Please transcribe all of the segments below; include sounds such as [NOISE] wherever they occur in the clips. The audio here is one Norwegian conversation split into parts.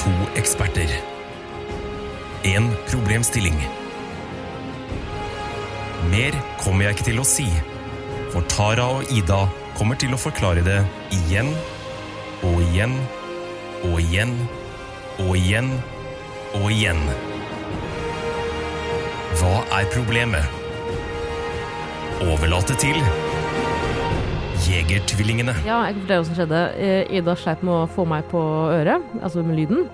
To eksperter. En problemstilling. Mer kommer jeg ikke til å si, for Tara og Ida kommer til å forklare det igjen og igjen og igjen og igjen og igjen. Hva er problemet? Overlate til Jegertvillingene. Ja, jeg kan fortelle hva som skjedde. Eh, Ida sleit med å få meg på øret, altså med lyden.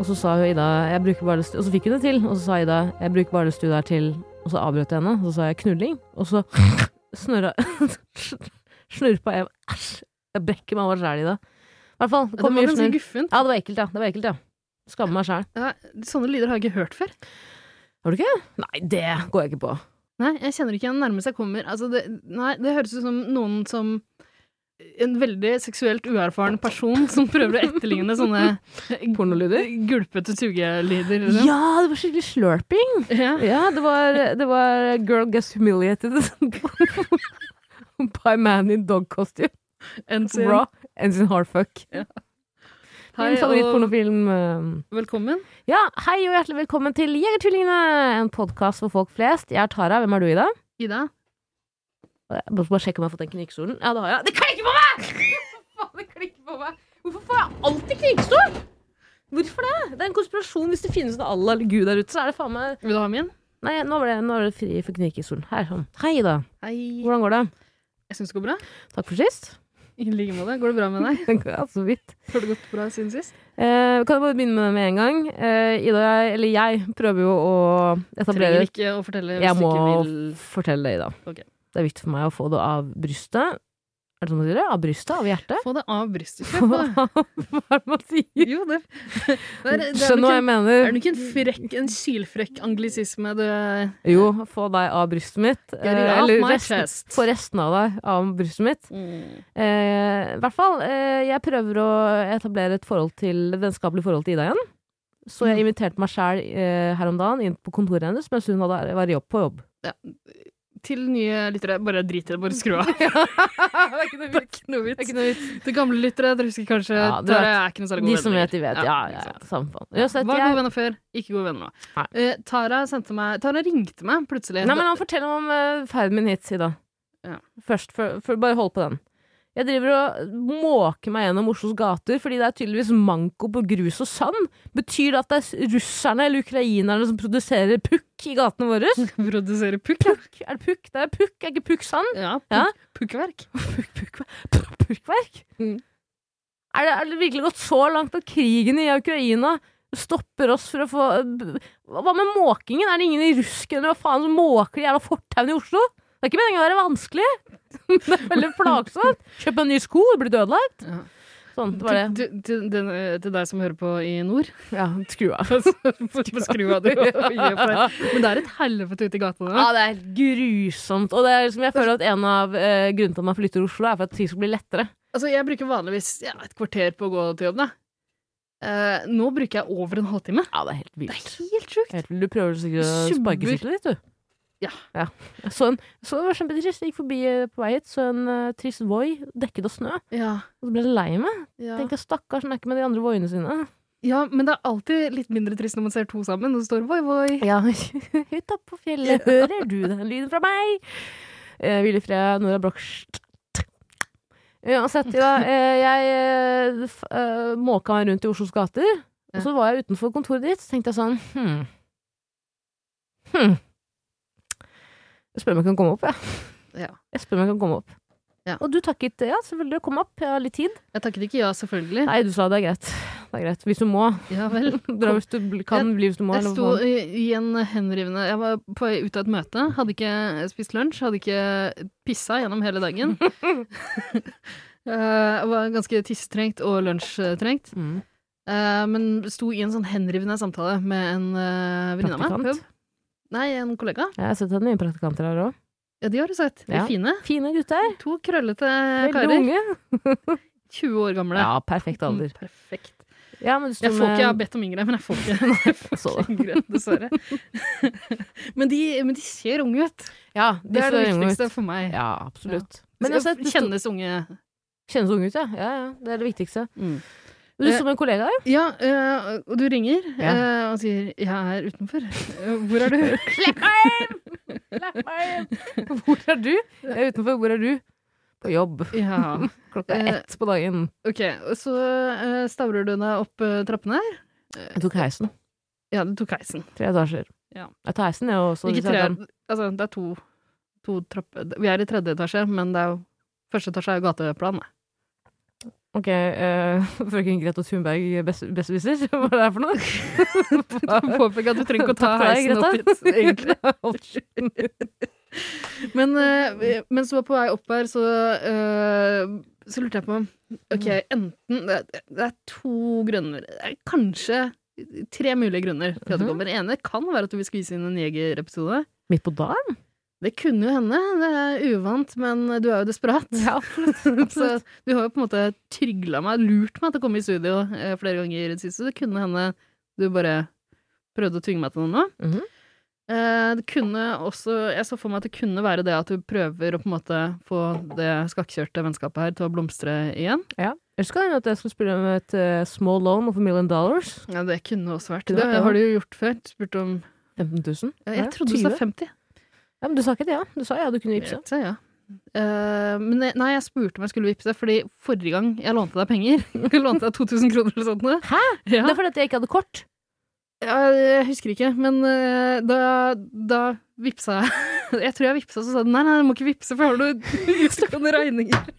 Og så sa hun Ida jeg bruker bare lyst- Og så fikk hun det til. Og så sa Ida jeg bruker bare lyst til der til Og så avbrøt jeg henne. Så sa jeg knulling. Og [LAUGHS] så snurra [LAUGHS] Snurpa jeg Æsj! Jeg brekker meg over sjæl, Ida. I hvert fall. Det Det kom var mye ganske snurr. guffent. Ja, det var ekkelt, ja. Det var ekkelt, ja. Skammer meg sjæl. Ja, sånne lyder har jeg ikke hørt før. Har du ikke? Nei, det går jeg ikke [LAUGHS] på. Nei, jeg kjenner ikke igjen nærmest jeg kommer. Altså, det, nei, det høres ut som noen som En veldig seksuelt uerfaren person som prøver å etterligne [LAUGHS] sånne Pornolyder? Gulpete sugelyder. liksom. Ja, det var skikkelig slurping. Ja. Ja, det var, det var Girl Gets Humiliated by man in dog costume. Enn sin. Bra. And sin hard fuck. Hei, Min og favorittpornofilm. eh, velkommen. Ja, hei og hjertelig velkommen til Jegertvillingene, en podkast for folk flest. Jeg er Tara. Hvem er du, Ida? Ida. Jeg må bare sjekke om jeg har fått den knikkestolen. Ja, det har jeg. Det klikker på meg! [LAUGHS] Hvorfor faen, det klikker på meg? Hvorfor får jeg alltid knikkestol? Hvorfor det? Det er en konspirasjon. Hvis det finnes en Allah eller Gud der ute, så er det faen meg Vil du ha min? Nei, nå var det, nå var det fri for knikkestolen. Her, sånn. Hei, Ida. Hei. Hvordan går det? Jeg syns det går bra. Takk for sist. [LAUGHS] I like måte. Går det bra med deg? Det går så vidt. Har det gått bra siden sist? Eh, kan jeg bare begynne med det med en gang? Eh, Ida, jeg, eller jeg, prøver jo å Trenger etablere ikke å fortelle hvis Jeg du må ikke vil. fortelle det, Ida. Ok. Det er viktig for meg å få det av brystet. Er det sånn man sier det? Av brystet? Av hjertet? Få det av brystet. Kjør på. [LAUGHS] Hva er det man sier? Jo, det, [LAUGHS] det, er, det er Skjønner nok hva en- jeg Er mener. det ikke en frekk, en sylfrekk anglisisme du Jo, få deg av brystet mitt. Get eh, it off eller my resten, chest. få resten av deg av brystet mitt. Eh, I hvert fall, eh, jeg prøver å etablere et forhold til, et vennskapelig forhold til Ida igjen. Så Mm. jeg inviterte meg sjæl eh, her om dagen inn på kontoret hennes mens hun hadde, var jobb på jobb. Til nye lyttere, bare drit i det, bare [LAUGHS] skru av. [LAUGHS] det er ikke noe vits. [LAUGHS] Til gamle lyttere, dere husker kanskje Ja, du Tara vet. er ikke noe særlig De god som vet, de vet. Ja, ja, ikke ja, sant. samme faen. Uansett, Var jeg gode venner før, ikke gode venner nå. Nei. Eh, Tara sendte meg Tara ringte meg plutselig. Nei, men han forteller om eh, ferden min hit, Ida. Ja. Først, for, for, bare hold på den. Jeg driver og måker meg gjennom Oslos gater, fordi det er tydeligvis manko på grus og sand. Betyr det at det er russerne eller ukrainerne som produserer pukk i gatene våre? [LAUGHS] Produsere pukk. Pukk? Er ja. det pukk? Det er pukk, er ikke pukk sand? Ja, pukk, Ja. pukkverk. Pukk, pukk, pukk, pukkverk? Mm. Er, det, er det virkelig gått så langt at krigen i Ukraina stopper oss for å få Hva hva med måkingen? Er det ingen i rusken eller hva faen som måker de jævla fortauene i Oslo? Det er ikke meningen å være vanskelig. [LAUGHS] Det er [LAUGHS] veldig plagsomt. Kjøp en ny sko, du blir dødlagt. Ja. Sånn, det var det. Til, til, til, den, eh, til deg som hører på i [LAUGHS] nord. [LAUGHS] Ja, skru av. Bare skru av det. og- og gi opp der. Men det er et helvete ute i gatene. Ja, det er helt grusomt. Og det er liksom, jeg føler at en av eh, grunnene til at man flytter til Oslo, er for at ting skal bli lettere. Altså, jeg bruker vanligvis ja, et kvarter på å gå til jobb, da. Eh, nå bruker jeg over en halvtime. Ja, det er helt Det vilt. er helt sjukt. Helt, du prøver sikkert å Subber. sparke siklet litt, du. Ja. Jeg Så, en, så det var kjempetrist. Jeg gikk forbi eh, på vei hit, så en eh, trist Voi dekket av snø. Ja, Og så ble jeg lei meg. ja. Tenkte stakkars, han er ikke med de andre voiene sine. ja, men det er alltid litt mindre trist når man ser to sammen. Og det står voi, voi. Ja, [LAUGHS] høyt opp på fjellet hører du den lyden fra meg. Eh, Hvil i fred, Nora Brokst. Uansett, Ida. Eh, jeg eh, f- eh, måka meg rundt i Oslos gater. Ja. Og så var jeg utenfor kontoret ditt, så tenkte jeg sånn hm. Hm. Jeg spør om jeg kan komme opp, jeg. Ja. Jeg spør om jeg kan komme opp. Ja. Og du takket ja, selvfølgelig. Kom opp, jeg har litt tid. Jeg takket ikke ja, selvfølgelig. Nei, du sa det er greit. Det er greit. Hvis du må. Ja vel. [LAUGHS] Dra hvis du bl- kan bli hvis du må. Jeg eller hva sto faen. i i en henrivende Jeg var på vei ut av et møte, hadde ikke spist lunsj, hadde ikke pissa gjennom hele [LAUGHS] dagen. Eh, var ganske tissetrengt og lunsjtrengt. Mm. Eh, men sto i en sånn henrivende samtale med en uh, venninne av meg. på Praktikant? jobb. Nei, en kollega. Jeg har sett at det er mye praktikanter her òg. Ja, de har du sett. De er Ja. fine. Fine gutter. To krøllete Veldig karer. unge. 20 år gamle. Eh, Ja, perfekt Mm, alder. Perfekt. Ja, men du sto Jeg får ikke, jeg har med bedt om yngre, men jeg får ikke, [LAUGHS] [LAUGHS] jeg får Så ikke yngre, dessverre. [LAUGHS] men, de, men de ser unge ut. Ja, de Det er det ser unge ut. viktigste for meg. Ja, absolutt. Men Men jeg har sett, du sto- kjennes unge. kjennes unge ut, ja. ja. ja. Det er det viktigste. Men du som en kollega, ja. Ja, eh, og du ringer Ja. eh, og sier 'jeg er utenfor'. Eh, Hvor er du? [LAUGHS] Slipp meg inn! Slipp meg inn! [LAUGHS] Hvor er du? Jeg er utenfor. Hvor er du? På jobb. Ja. Klokka Eh, er ett på dagen. Ok, og så eh, stavrer du deg opp eh, trappene her. Jeg tok heisen. Ja, du tok heisen. Tre etasjer. Ja. Jeg tar heisen, jeg også. Ikke hvis jeg tre, kan. altså det er to, to trapper. Vi er i tredje etasje, men det er jo Første etasje er jo gateplan. da. Ok, uh, [LAUGHS] frøken Greta Thunberg bes- besserwisser, [LAUGHS] hva er det her for noe? [LAUGHS] Du påpeker at du trenger ikke å ta Takk heisen for opp deg, hit, [LAUGHS] egentlig. Hold- [LAUGHS] Men eh, mens du var på vei opp her, så, eh, så lurte jeg på Ok, enten Det er, det er to grunner det er Kanskje tre mulige grunner til at du Mhm. kommer. Den ene kan være at du vil skvise inn en jegerepisode. Midt på dagen? Det kunne jo hende. Det er uvant, men du er jo desperat. [LAUGHS] Ja, Så du har jo på en måte trygla meg, lurt meg til å komme i studio eh, flere ganger i det siste. Det kunne hende du bare prøvde å tvinge meg til noe nå. Mhm. Eh, Det kunne også Jeg så for meg at det kunne være det at du prøver å på en måte få det skakkjørte vennskapet her til å blomstre igjen. Ja. Ellers kan det hende at jeg skulle spille med et eh, small loan of a million dollars. Ja, det kunne også vært. Kunne Det vært det, har du jo gjort før. Spurt om 15 000. Jeg, Ja, jeg trodde du sa 20. 50. Ja, men du sa ikke det, ja. Du sa ja, du kunne vippse. Vippse, ja. Eh, men jeg- nei, jeg spurte om jeg skulle vippse, fordi forrige gang jeg lånte deg penger [LAUGHS] Jeg lånte deg 2000 kroner eller sånt noe. Hæ? Ja. Det er fordi at jeg ikke hadde kort. Ja, jeg husker ikke, men eh, da, da vipsa jeg [LAUGHS] Jeg tror jeg vipsa, så sa den nei, nei, du [LAUGHS] må ikke vipse, for jeg har noen utestående regninger.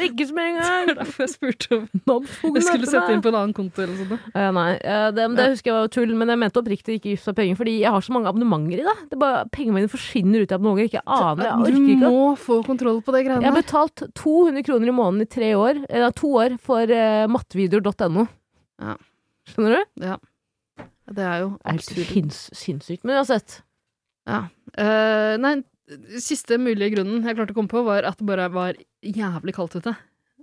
Ikke som en Det gang! [LAUGHS] var Derfor jeg spurte om Mobbefogen jeg skulle møter sette meg. inn på en annen konto eller sånt. da. Eh, nei, eh, det, men det husker jeg var tull, men jeg mente oppriktig ikke gifta penger, fordi jeg har så mange abonnementer i det. det er bare, pengene mine forsvinner ut i abonnementer, jeg ikke aner, jeg Du orker ikke. må få kontroll på det Jeg greiene har der. betalt 200 kroner i måneden i tre år, eh, to år, for eh, mattevideoer.no. Ja. Skjønner du? Det er jo Det er helt absurd. sinns, sinnssykt. Men uansett. Eh, nei, siste mulige grunnen jeg klarte å komme på, var at det bare var jævlig kaldt ute.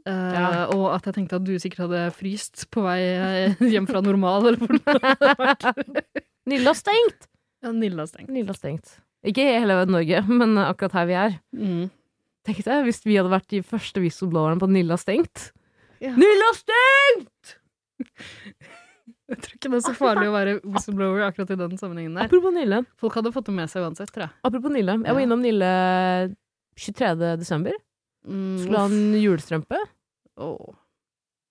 Eh, Ja. Og at jeg tenkte at du sikkert hadde fryst på vei eh, hjem fra normal, eller hvor det hadde vært. Nilla har stengt! Ja, Nilla har stengt. Nilla har stengt. Ikke i hele Norge, [LAUGHS] men eh, akkurat her vi er. Mm. Tenk deg hvis vi hadde vært de første whistleblowerne på at Nilla har stengt. Ja. Nilla har stengt! Jeg tror ikke det er så farlig å være whistleblower akkurat i den sammenhengen der. Apropos Nille. Folk hadde fått det med seg uansett, tror jeg. Apropos Nille, jeg Ja. var innom Nille 23. desember. Skulle ha en julestrømpe. Mm, Åh.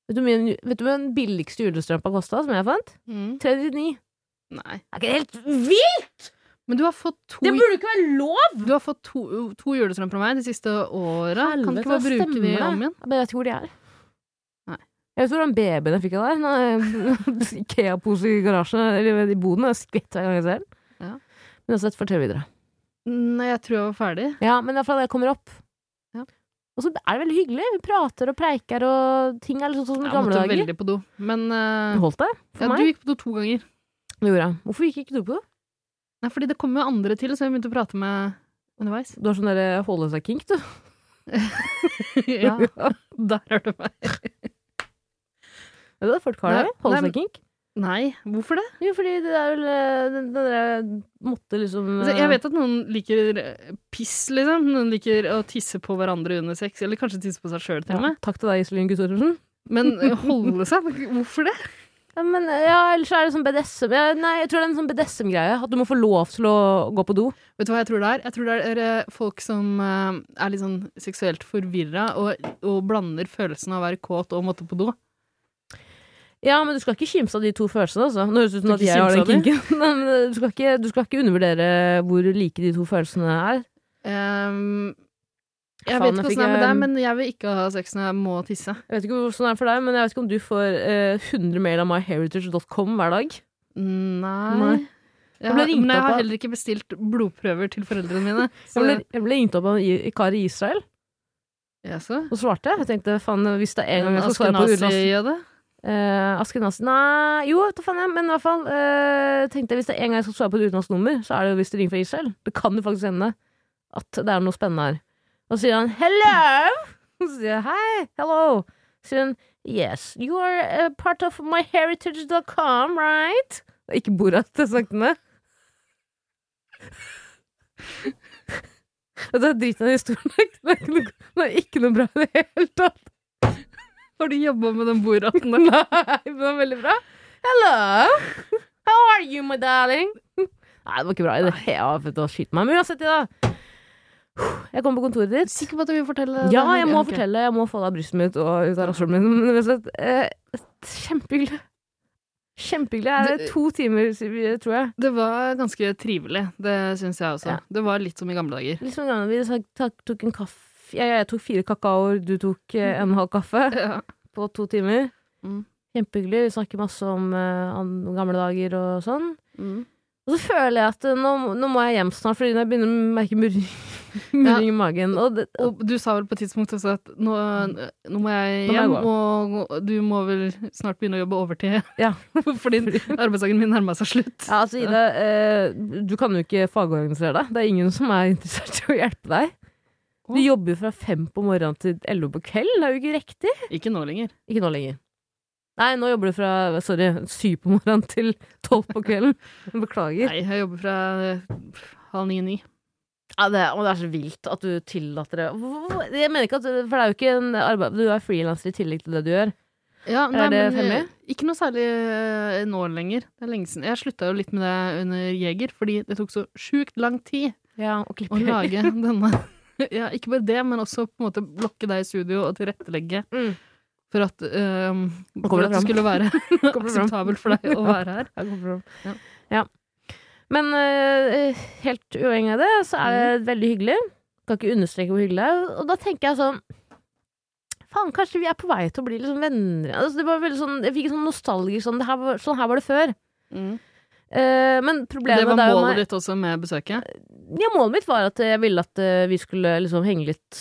Vet du hvor mye en- vet du hva den billigste julestrømpa kosta, som jeg fant? Mm. 39. Nei. Er ikke det helt vilt?! Men du har fått to, Det burde ikke være lov! du har fått to, to julestrømper av meg de siste åra. Kan Helvete, ikke bare bruke stemmer de det. om igjen. Men jeg vet ikke hvor de er. Nei. Jeg vet hvor den babyen jeg fikk av [LAUGHS] deg. Ikea-pose i garasjen, eller i boden. Jeg skvetter hver gang jeg ser den. Ja. Men uansett, fortell videre. Nei, jeg tror jeg var ferdig. Ja, men det er fra da jeg kommer opp. Ja. Og så er det veldig hyggelig. Vi prater og preiker, og ting er liksom sånn som i Jeg gamle måtte dager. veldig på do. Men eh, Holdt det? For ja, du meg? gikk på do to ganger. Det gjorde jeg. Hvorfor gikk ikke du på det? Nei, fordi det kom jo andre til, så jeg begynte å prate med underveis. [LAUGHS] Du har sånn derre holde seg-kink, du. ja, [LAUGHS] der hørte du meg. Er det det folk har Nei, det? nei, men- Holde-seg-kink? Nei, hvorfor det? Jo, fordi det er vel eh, Den, den der måtte liksom Altså, jeg vet at noen liker eh, piss, liksom. Noen liker å tisse på hverandre under sex, eller kanskje tisse på seg sjøl, til og med. ja, Takk til deg, Iselin Guttormsen. Men eh, holde seg? Hvorfor det? Ja, men eh, ja, ellers er det sånn BDSM ja, Nei, jeg tror det er en sånn BDSM-greie. At du må få lov til å gå på do. Vet du hva jeg tror det er? Jeg tror det er eh, folk som eh, er litt sånn seksuelt forvirra og, og blander følelsen av å være kåt og måtte på do. Ja, men du skal ikke kimse av de to følelsene, altså. Nå høres det ut som Du at skal jeg har den ikke kimse kinken. [LAUGHS] Nei, men eh, du skal, ikke, du skal ikke undervurdere hvor like de to følelsene er. Ehm, jeg Faen, vet nå ikke fikk åssen det er med jeg- deg, men jeg vil ikke ha sex når jeg må Jeg tisse. vet ikke hvordan det er for deg, men jeg vet ikke om du får eh, 100 mail av myheritage.com hver dag. Nei. Nei. Jeg ble har, ringt men jeg opp av- har heller ikke bestilt blodprøver til foreldrene mine. Jeg Så, ble, jeg ble ringt opp av en kar i Israel Jaså? og svarte. Jeg tenkte faen, hvis det er en gang jeg skal svare på utenlands Askenazi-jøde? Uh, Askenas Nei, jo, vet du faen jeg, men i hvert fall eh, tenkte jeg hvis det er en gang jeg skal svare på et utenlandsk nummer, så er det jo hvis det ringer fra Israel. Det kan jo faktisk hende at det er noe spennende her. Og så sier han 'hello'. [LAUGHS] Og så sier jeg 'hei, hello'. Så sier hun 'yes, you are a part of myheritage.com, right?' Det er ikke Borat jeg snakket [LAUGHS] med. [LAUGHS] Og det er driten av historien. Det er ikke noe- det er ikke noe bra i det hele tatt. Har du jobba med den bordratten? Nei, men det var veldig bra. Hello! How are you, my darling? Nei, det var ikke bra i det hele tatt. Skyt meg. Men uansett, da. Jeg kommer på kontoret ditt. Sikker på at du vil fortelle? Ja, det? jeg må ok. fortelle. Jeg må få det av brystet mitt og ut av rasshølet mitt. Men rett og slett, eh, Kjempehyggelig. Kjempehyggelig. Det Du- er to timer, siden, tror jeg. Det var ganske trivelig, det syns jeg også. Ja. Det var litt som i gamle dager. Liksom en gang vi sa- tak- tok en kaffe jeg, jeg tok fire kakaoer, du tok eh, en halv kaffe [LAUGHS] Ja. på to timer. Mm. Kjempehyggelig. Vi snakker masse om, eh, om gamle dager og sånn. Mm. Og så føler jeg at eh, nå, nå må jeg hjem snart, fordi jeg begynner å merke murring, [LAUGHS] murring i magen. Og det, [LAUGHS] Og du sa vel på et tidspunkt også at nå, nå må jeg Nå må jeg hjem, gå. og du må vel snart begynne å jobbe overtid. [LAUGHS] Ja. Fordi arbeidsdagen min nærma seg slutt. Ja, altså Ida, eh, du kan jo ikke fagorganisere deg. Det er ingen som er [LAUGHS] interessert i å hjelpe deg. Du Å. jobber jo fra fem på morgenen til elleve på kvelden. Det er jo ikke riktig. Ikke nå lenger. Ikke nå lenger. Nei, nå jobber du fra sorry, syv på morgenen til tolv på kvelden. [LAUGHS] Beklager. Nei, jeg jobber fra eh, halv ni-ni. Ja, det, er- og det er så vilt at du tillater det. Hvor- hvor- Jeg mener ikke at, for det er jo ikke en arbeid, Du er frilanser i tillegg til det du gjør. Ja, nei, det men, hemmelig? eh, Ikke noe særlig eh, nå lenger. Det er lenge siden. Jeg slutta jo litt med det under Jeger, fordi det tok så sjukt lang tid Ja, og [LAUGHS] å klipper. lage denne. Ja, ikke bare det, men også på en måte blokke deg i studio og tilrettelegge Mm. for at, um, Nå for kommer det at det fram. skulle [LAUGHS] være kommer det fram. akseptabelt for [LAUGHS] deg å være her. Ja, det kommer Ja. fram. Ja. Men eh, helt uavhengig av det, så er Mm. det veldig hyggelig. Kan ikke understreke hvor hyggelig det er. Og da tenker jeg sånn Faen, kanskje vi er på vei til å bli liksom venner altså, det var veldig sånn, Jeg fikk en sånn nostalgisk sånn, det her var, sånn her var det før. Eh, men Mm. Det problemet var der målet ditt også med besøket? ja, målet mitt var at jeg ville at eh, vi skulle liksom henge litt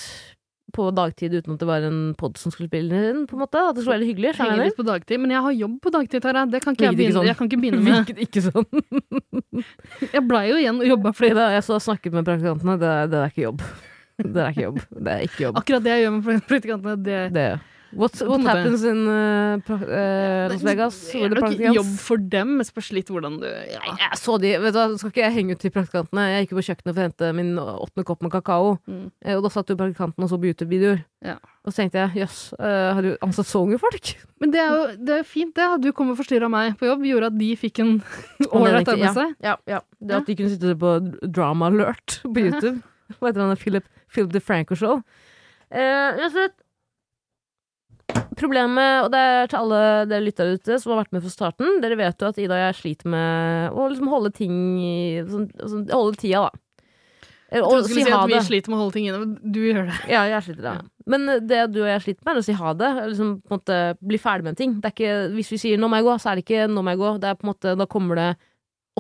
på dagtid uten at det var en pod som skulle spille inn, på en måte. At det skulle være litt hyggelig. skjønner Henge jeg. [LAUGHS] litt på dagtid. Men jeg har jobb på dagtid, Tara. Det kan ikke jeg Virket ikke begynne, sånn. jeg kan ikke begynne med. Virket ikke sånn. Jeg blei jo igjen og jobba flere [LAUGHS] Fordi da jeg så snakket med praktikantene, det, det er ikke jobb. Det er ikke jobb. Det er ikke jobb. Akkurat det jeg gjør med praktikantene, det Det. What, På en what måte. happens in uh, pra, uh, Las Vegas? Det with er the nok praktikants? jobb for dem, men spørs litt hvordan du ja. Nei, jeg så de, vet du, hva, Skal ikke jeg henge ut til praktikantene? Jeg gikk jo på kjøkkenet for å hente min åttende kopp med kakao. Mm. Eh, Og da satt jo praktikanten og så på YouTube-videoer. Ja. Og så tenkte jeg jøss, eh, har du ansatt så unge folk? Men det er jo det er jo fint, det. At du kom og forstyrra meg på jobb, gjorde at de fikk en ålreit riktig, arbeidsseg. Ja, ja. Det at de kunne sitte på Drama Alert på YouTube. Hva heter han? Philip, Philip DeFranco Show. Eh, uansett. Problemet, og det er til alle dere lyttere ute som har vært med fra starten Dere vet jo at Ida og jeg sliter med å liksom holde ting i sånn, sånn, Holde tida, da. Eh, Jeg Og trodde du si skulle si ha at vi det. sliter med å holde ting inne, men du gjør det. Ja, jeg sliter da. Men det du og jeg sliter med, er å si ha det. Liksom, på en måte, bli ferdig med en ting. Det er ikke, hvis vi sier 'nå må jeg gå', så er det ikke 'nå må jeg gå'. Det er på en måte, da kommer det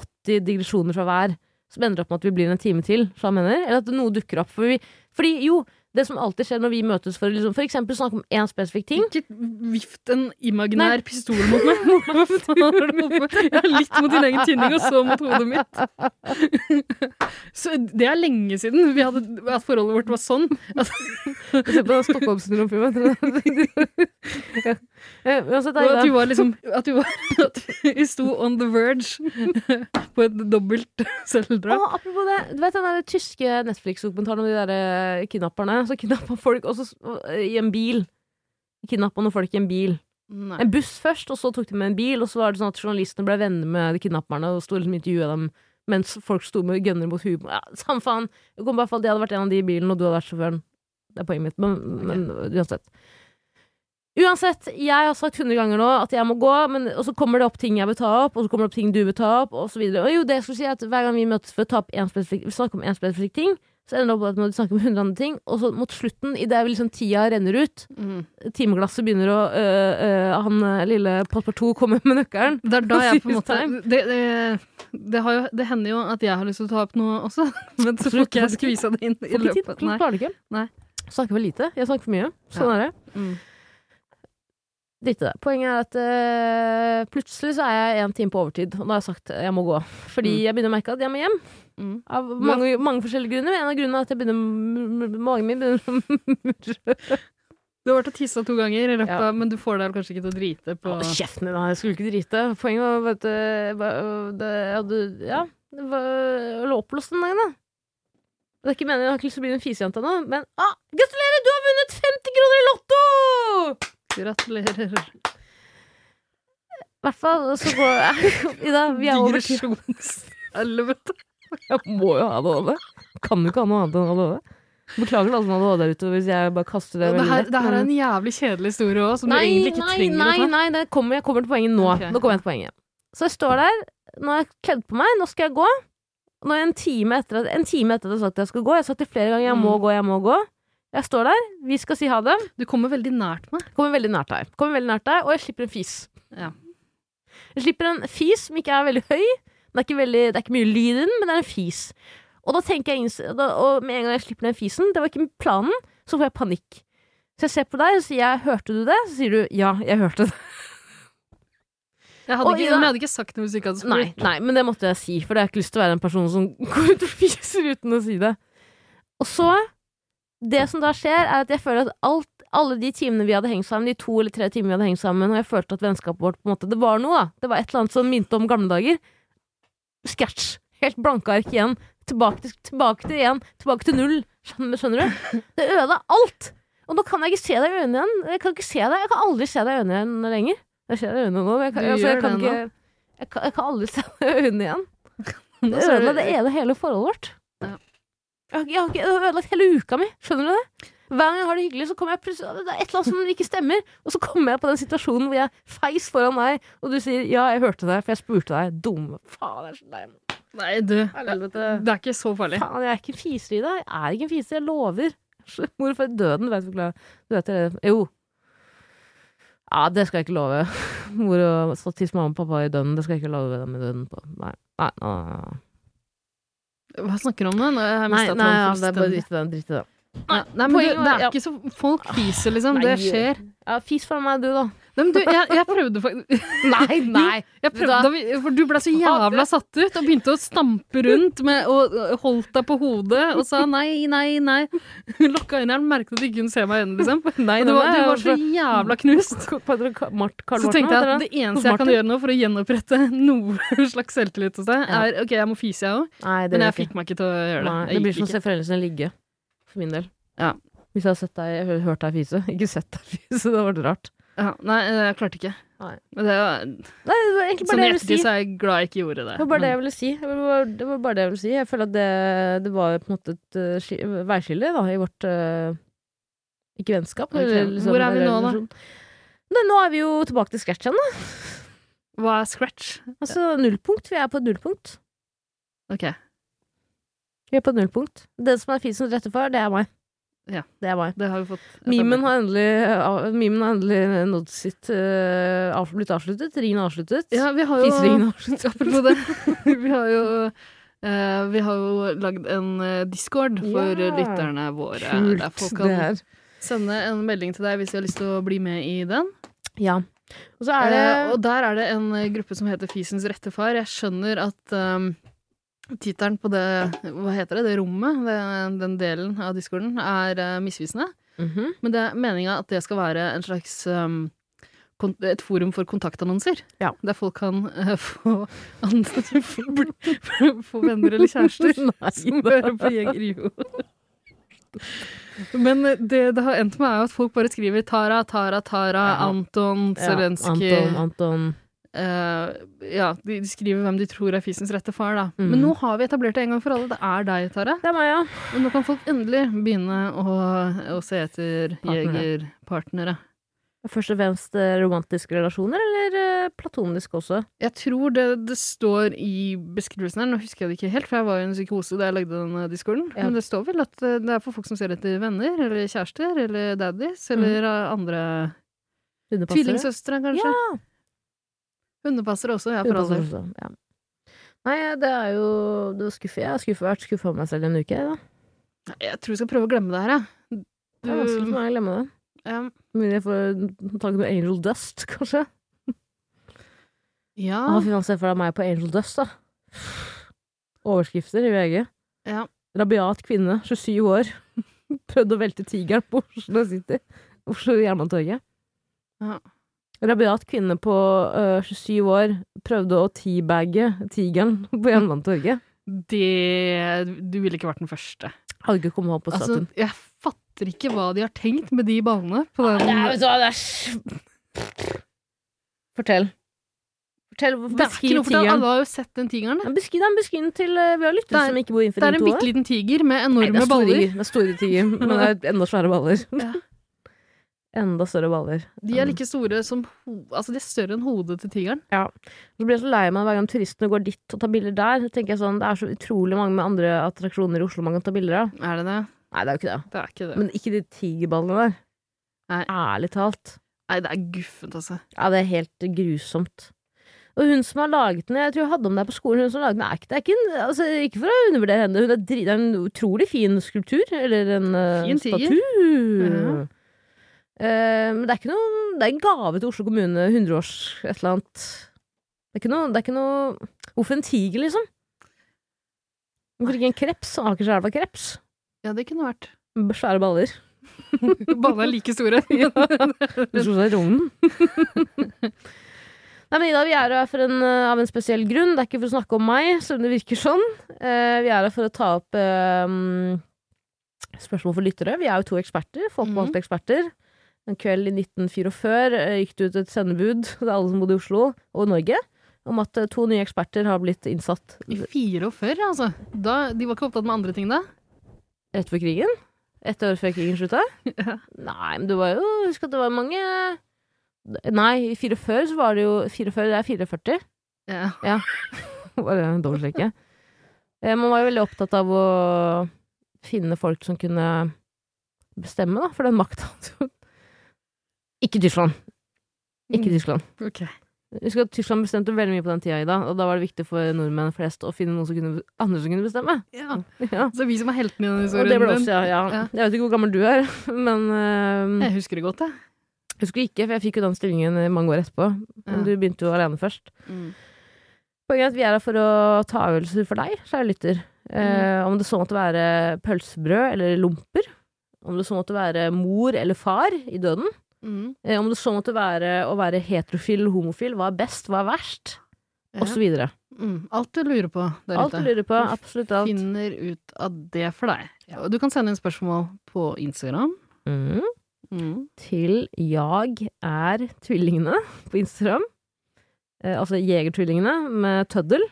80 digresjoner fra hver som ender opp med at vi blir en time til. Så jeg mener. Eller at noe dukker opp. For vi, fordi jo, det som alltid skjer når vi møtes for å liksom, for eksempel snakke om én spesifikk ting Ikke vift en imaginær pistol mot meg. [LAUGHS] Hva faen er det du holder på med? Ja, litt mot din egen tinning, og så mot hodet mitt. [LAUGHS] Så det er lenge siden vi hadde, at forholdet vårt var sånn. [LAUGHS] Se på den Stockholm-syndrom-filmen. [LAUGHS] ja. Eh, Uansett, Og at Aida. vi var liksom At vi, var, at vi sto on the verge på et dobbelt selvdrap. Å, apropos det, du vet den der tyske Netflix-dokumentaren om de der eh, kidnapperne? Så kidnappa folk også s- og, eh, i en bil. Kidnappa noen folk i en bil. Nei. En buss først, og så tok de med en bil, og så var det sånn at journalistene ble venner med de kidnapperne og sto liksom og intervjua dem mens folk sto med gunner mot huet på ja, Samme faen. Det kom bare for at jeg hadde vært en av de i bilen, og du hadde vært sjåføren. Det er poenget mitt, men, men uansett. Uansett, jeg har sagt hundre ganger nå at jeg må gå, men, og så kommer det opp ting jeg vil ta opp, og så kommer det opp ting du vil ta opp, og så videre. Og jo, det jeg skulle si er at hver gang vi møtes for å ta opp en spesifikk, snakke om én spesifikk ting, så ender det opp med at vi må snakke om hundre andre ting, og så mot slutten, idet liksom tida renner ut, Mm. timeglasset begynner å øh, øh, Han øh, lille passepartout kommer med nøkkelen. Det er da jeg på en måte Time. det, det, det, har jo, det hender jo at jeg har lyst til å ta opp noe også, [LAUGHS] men så får ikke jeg skvisa det inn i Får ikke tid. løpet. Nei. Klarer det ikke. Nei. Snakker for lite. Jeg snakker for mye. Sånn er det. Mm. Dritt i det. Poenget er at øh, plutselig så er jeg en time på overtid, og da har jeg sagt jeg må gå. Fordi Mm. jeg begynner å merke at jeg må hjem. Mm. Av mange, mange forskjellige grunner. En av grunnene er at jeg begynner m- m- magen min begynner å [LAUGHS] murre. Du har vært og tissa to ganger, i løpet, Ja. av- men du får deg kanskje ikke til å drite på Hold Kjeften din, da. Jeg skulle ikke drite. Poenget var at øh, hva- det, jeg hadde Ja, det var jeg lå oppblåst den dagen, da. Det er ikke meningen, Jeg har ikke lyst til å bli en fisejente ennå, men ah, gratulerer! Du har vunnet 50 kroner i Lotto! Gratulerer. I hvert fall så går [LAUGHS] Ida, vi er over ti Digresjonshelvete. Jeg må jo ha ADHD. Kan jo ikke ha noe annet enn ADHD. Beklager til alle som har ADHD der ute hvis jeg bare kaster det Det, veldig her- lett, det her er men- en jævlig kjedelig historie òg, som Nei, du egentlig ikke nei, trenger nei, å ta. nei, det kommer, jeg kommer til poenget nå. Ok. Nå kommer jeg til poenget. Så jeg står der, nå har jeg kledd på meg, nå skal jeg gå. Nå er jeg en time etter at, en time etter at jeg har sagt at jeg skal gå. Jeg har sagt det flere ganger, jeg Mm. må gå, jeg må gå. Jeg står der, vi skal si ha det. Du kommer veldig nært meg. Kommer veldig nært deg. Kommer veldig nært deg, og jeg slipper en fis. Ja. Jeg slipper en fis som ikke er veldig høy. Den er ikke veldig, det er ikke mye lyd i den, men det er en fis. Og da tenker jeg inns- da, Og med en gang jeg slipper den fisen, det var ikke planen, så får jeg panikk. Så jeg ser på deg og sier jeg, 'hørte du det?' Så sier du 'ja, jeg hørte det'. Jeg hadde, Og ikke, Ida- men jeg hadde ikke sagt noe hvis du ikke hadde spurt. Nei, [LAUGHS] nei, men det måtte jeg si, for jeg har ikke lyst til å være en person som [LAUGHS] går ut og fiser uten å si det. Og så Det som da skjer, er at jeg føler at alt alle de timene vi hadde hengt sammen, de to eller tre timene vi hadde hengt sammen, og jeg følte at vennskapet vårt på en måte, Det var noe, da. Det var et eller annet som minte om gamle dager. Scratch. Helt blanke ark igjen. Tilbake til, tilbake til igjen. Tilbake til null. Skjønner, skjønner du? Det ødela alt. Og nå kan jeg ikke se deg i øynene igjen. Jeg kan ikke se deg. Jeg kan aldri se deg i øynene igjen lenger. Jeg ser deg i øynene nå. men Jeg kan, Du altså, gjør jeg kan det ikke jeg kan, jeg kan aldri [LAUGHS] se deg i øynene igjen. Da Det ser du- ødela det ene hele forholdet vårt. Ja. Jeg har ikke- jeg har ikke det har ødelagt hele uka mi. Skjønner du det? Hver gang jeg har det hyggelig, så kommer jeg plutselig Det er et eller annet som ikke stemmer. Og så kommer jeg på den situasjonen hvor jeg feis foran deg, og du sier 'ja, jeg hørte deg', for jeg spurte deg. Dumme faen. Jeg er så lei meg. Nei, du. Helvete. Det er ikke så farlig. Faen, jeg er ikke en fise i deg. Jeg er ikke en fise, jeg lover. [LAUGHS] Hvorfor døden, vet du ikke. Du vet det. Jo. Ja, det skal jeg ikke love. [LAUGHS] Mor og så tiss mamma og pappa i døden, det skal jeg ikke love dem i døden på. Nei. Nei, nei, nei. nei. Hva snakker du om nå? Nå har jeg Nei, mistet nei ja, tråden det er bare fullstendig. dritt i det. Dritt i det. Nei, nei, men Poenget du, var- det er ja. ikke så Folk fiser, liksom. Det Nei. skjer. Ja, fis fra meg, du, da. [LAUGHS] Nei, men du, jeg, jeg prøvde faktisk Nei, nei. Jeg prøvde, da vi- for du ble så jævla satt ut og begynte å stampe rundt med, og og holdt deg på hodet og sa nei, nei, nei. Lokka inn i den, merket at du ikke kunne se meg igjen, liksom. [LAUGHS] nei, Og Du var, du var så jævla knust. Så tenkte jeg at det eneste jeg kan gjøre nå for å gjenopprette [LAUGHS] noe slags selvtillit hos deg, Ja. er OK, jeg må fise, jeg òg, Nei, det men vil jeg ikke. fikk meg ikke til å gjøre det. Nei, Jeg det blir gikk som å ikke. se foreldrene sine ligge. For min del. Ja. Hvis jeg hadde sett deg, hø- hørt deg fise. [LAUGHS] Ikke sett deg fise, det hadde vært rart. ja, Nei, jeg klarte ikke. Nei. Men det var, Nei, det var egentlig bare sånn det i jeg ville ettertid si. så er jeg glad jeg ikke gjorde det. Det var bare det jeg ville si. Det var, det var bare det jeg ville si. Jeg føler at det, det var på en måte et eh, ski- veiskille da, i vårt eh, Ikke vennskap, Ok, eller liksom hvor er vi nå, da? relasjon. Nei, nå er vi jo tilbake til scratch igjen, da. Men Hva er scratch? Altså nullpunkt. Vi er på et nullpunkt. OK. Vi er på et nullpunkt. Den som er fisen rett for, det er meg. Ja. Det er meg. Det har vi fått. Memen har endelig, av- memen har endelig nådd sitt eh, av- blitt avsluttet. Ringen er avsluttet. ja, vi har jo, Fiseringen er avsluttet. [LAUGHS] Apropos det. Vi har jo, eh, vi har jo lagd en eh, discord for Ja. lytterne våre. Der folk Kult, kan det her. sende en melding til deg hvis de har lyst til å bli med i den. Ja. Og så er det Eh, og der er det en eh, gruppe som heter Fisens rette far. Jeg skjønner at um, tittelen på det Hva heter det? Det rommet, det, den delen av discorden, er eh, misvisende. Mhm. Men det er meninga at det skal være en slags um, kon- et forum for kontaktannonser. Ja. Der folk kan eh, få, [LAUGHS] an få, bli- få venner eller [LAUGHS] kjærester [LAUGHS] som Nei, hører på Jeger Jo. Men eh, det det har endt med, er jo at folk bare skriver Tara, Tara, Tara, Ja. Anton, Ja, Zelenskyj Anton, Anton. eh, Ja, de de skriver hvem de tror er fisens rette far, da. Mhm. Men nå har vi etablert det en gang for alle. Det er deg, Tara. Det er meg, ja. Og nå kan folk endelig begynne å, å se etter Partnere. jegerpartnere. Først og fremst eh, romantiske relasjoner, eller eh, platoniske også? Jeg tror det, det står i beskrivelsen her, nå husker jeg det ikke helt, for jeg var jo i en psykose da jeg lagde den eh, discorden, Ja. men det står vel at eh, det er for folk som ser etter venner, eller kjærester, eller daddies, Mhm. eller eh, andre Hundepassere? tvillingsøstre, kanskje. Hundepassere også, ja, for all Hundepassere også, del. ja. Nei, eh, det er jo det var skuffet. Jeg har skuffet, vært skuffa over meg selv i en uke. Da. Jeg tror vi skal prøve å glemme det her, jeg. Det er Mm. vanskelig for meg å glemme det. ja. Mulig jeg får tak i noe Angel Dust, kanskje. Ja. Ah, fy faen, se for deg meg på Angel Dust, da. Overskrifter i VG. Ja. Rabiat kvinne, 27 år. [LAUGHS] Prøvde å velte tigeren på Oslo City. Oslo Jernbanetorget. Ja. Rabiat kvinne på øh, 27 år prøvde å teabagge tigeren på Jernbanetorget. Det Du ville ikke vært den første. Hadde ikke kommet opp på Altså, statuen. jeg fatter fatter ikke hva de har tenkt med de ballene. På den. Nei, vet du hva, det er s- Fortell. Fortell, hvorfor- det er ikke beskriv noe for det. tigeren. Alle har jo sett den tigeren. Ja, Beskriv den beskriv den til eh, vi har Det lyttere er- som ikke bor innenfor Det er ring en to. bitte liten tiger Nei, med det enorme er store baller. tiger, det er store tiger, men det er enda svære baller. [LAUGHS] Ja. Enda større baller. De er like store som ho Altså, de er større enn hodet til tigeren. Så blir jeg så lei meg hver gang turistene går dit og tar bilder der. Så tenker jeg sånn, Det er så utrolig mange andre attraksjoner i Oslo man kan ta bilder av. Er det det? Nei, det er jo ikke det. Det er ikke det. Men ikke de tigerballene der. Nei. Ærlig talt. Nei, det er guffent, altså. Ja, det er helt grusomt. Og hun som har laget den, jeg tror jeg hadde om deg på skolen, hun som har laget den, er ikke, det er ikke, en, altså, ikke for å undervurdere henne, hun er, dri- det er en utrolig fin skulptur, eller en eh, Fin tiger. statu. Ja. Eh, men det er ikke noe, det er en gave til Oslo kommune, 100 års et eller annet. Det er ikke noe, det er ikke noe, hvorfor en tiger liksom? Hvorfor ikke en kreps, Akerselva kreps? Ja, det kunne vært. [LAUGHS] Med Svære baller. Ballene er like store. [LAUGHS] Du slo deg i rognen. [LAUGHS] Nei, men Ida, vi er her for en, eh, av en spesiell grunn. Det er ikke for å snakke om meg, selv om det virker sånn. Eh, vi er her for å ta opp eh, mm, spørsmål for lyttere. Vi er jo to eksperter, folkevalgte eksperter. En kveld i 1944 eh, gikk det ut et sendebud [LAUGHS] til alle som bodde i Oslo og Norge, om at eh, to nye eksperter har blitt innsatt I 44, altså. Da, de var ikke opptatt med andre ting da? rett før krigen. Ett år før krigen slutta. [LAUGHS] Ja. Nei, men det var jo Husk at det var mange Nei, i 44 så var det jo 44, det er 44. Ja. [LAUGHS] Bare en dobbeltsjekke. Eh, Man var jo veldig opptatt av å finne folk som kunne bestemme, da, for den makta hadde jo Ikke Tyskland. Ikke Mm. Tyskland. Ok. Husk at Tyskland bestemte veldig mye på den tida, Ida, og da var det viktig for nordmenn flest å finne noen som kunne, andre som kunne bestemme. Ja. Ja. Så vi som er heltene i denne Og det historien. ble også, ja, ja. Ja. Jeg vet ikke hvor gammel du er, [LAUGHS] men eh, Jeg husker det godt, jeg. Jeg husker ikke, for jeg fikk jo den stillingen mange år etterpå. Men Ja. Mm. du begynte jo alene først. Poenget er at vi er her for å ta øvelser for deg, kjære lytter. Eh, om det så måtte være pølsebrød eller lomper. Om det så måtte være mor eller far i døden. Mm. Eh, om det så måtte være å være heterofil eller homofil. Hva er best, hva er verst? Ja. Og så videre. Mm. Alt du lurer på der Alt ute. du lurer på. Absolutt alt. Finner ut av det for deg. Og du kan sende inn spørsmål på Instagram. Mm. til Jeg er tvillingene på Instagram. Eh, altså Jegertvillingene med [CLEARS THROAT] tøddel.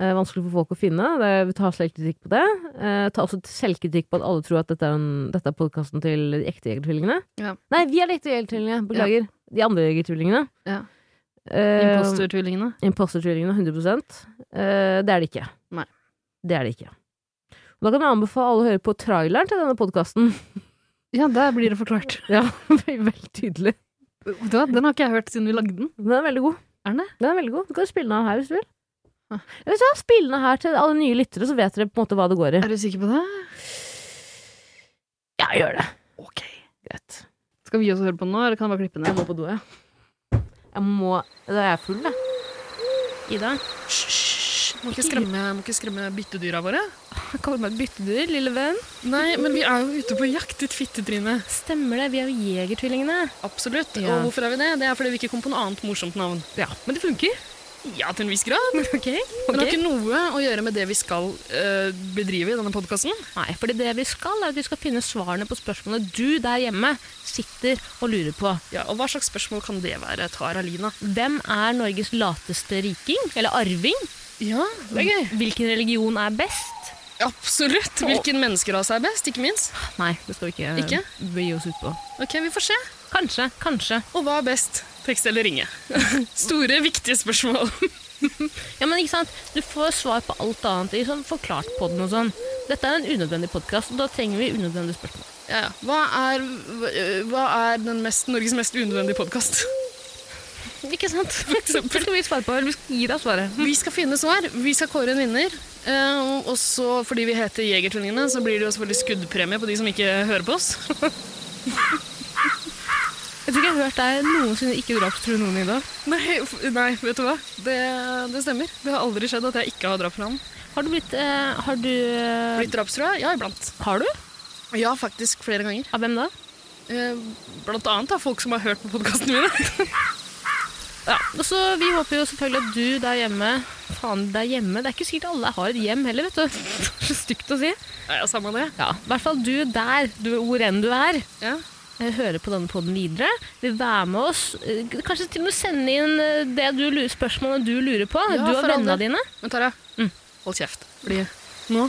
Eh, vanskelig for folk å finne. Det, vi tar selvkritikk på det. Eh, ta også selvkritikk på at alle tror at dette er, en, dette er podkasten til de ekte Jegertvillingene. Ja. Nei, vi er de ekte Jegertvillingene. Beklager. De andre Jegertvillingene. Ja. Eh, Impostertvillingene. Impostertvillingene, 100 eh, Det er det ikke. Nei. Det er det ikke. Da kan jeg anbefale alle å høre på traileren til denne [LAUGHS] podkasten. Ja, der blir det forklart. Veldig tydelig. Vet du hva, Den har ikke jeg hørt siden vi lagde den. Den er veldig god. Er den det? Den er veldig god. Du kan spille den av her hvis du vil. Ah. Eller så Spill den av her til alle nye lyttere, så vet dere på en måte hva det går i. Er du sikker på det? Ja, gjør det. Ok. Greit. Skal vi også høre på den nå, eller kan jeg bare klippe Jeg ned? må på do, jeg. Jeg må Da er jeg full, jeg. Ida? Hysj! Må ikke skremme, må ikke skremme byttedyra våre. Kaller meg et byttedyr, lille venn. Nei, men vi er jo ute på jakt, ditt fittetryne. Stemmer det, vi er jo Jegertvillingene. Absolutt. Ja. Og hvorfor er vi det? Det er fordi vi ikke kom på noe annet morsomt navn. Ja, men det funker. Ja, til en viss grad. [LAUGHS] Ok. Men det har ikke noe å gjøre med det vi skal eh, bedrive i denne podkasten. Nei, fordi det vi skal, er at vi skal finne svarene på spørsmålene du der hjemme sitter og lurer på. Ja, og hva slags spørsmål kan det være, Tara Lina? Hvem er Norges lateste riking? Eller arving? Ja, det er gøy. Hvilken religion er best? Absolutt. Hvilken menneskerase er best, ikke minst? Nei, det skal vi ikke, Ikke? begi oss ut på. Ok, vi får se. Kanskje, kanskje. Og hva er best? Tekst eller ringe? [LAUGHS] Store, viktige spørsmål. Ja, men ikke sant? Du får svar på alt annet i sånn forklart podden og sånn. Dette er en unødvendig podkast, og da trenger vi unødvendige spørsmål. [LAUGHS] Ja, ja. Hva er, hva er den mest, Norges mest unødvendige podkast? Ikke sant? Det skal vi svare på. eller Vi skal gi deg svaret. Vi skal finne svar. Vi skal kåre en vinner. Eh, og så, fordi vi heter Jegertvillingene, så blir det jo selvfølgelig skuddpremie på de som ikke hører på oss. [LAUGHS] Jeg tror ikke jeg har hørt deg noensinne ikke drapstrue noen i dag. Nei, f- nei, vet du hva? Det, det stemmer. Det har aldri skjedd at jeg ikke har drapsnavn. Har du blitt eh, Har du eh, Blitt drapstrua? Ja, iblant. Har du? Ja, faktisk flere ganger. Av hvem da? Eh, Blant annet av folk som har hørt på podkastene mine. Ja, og så Vi håper jo selvfølgelig at du der hjemme faen der hjemme. Det er ikke sikkert alle har et hjem heller, vet du. [LAUGHS] Det er så stygt å si. [LAUGHS] Ja, ja, samme det. Ja, I hvert fall du der, du, hvor enn du er. Ja. eh, Høre på denne podden videre. Vil være med oss. eh, Kanskje til og med sende inn eh, det du, lurer- spørsmålet du lurer på. Ja, du og for all vennene del. dine. Men Tara, Mm. hold kjeft. Fordi nå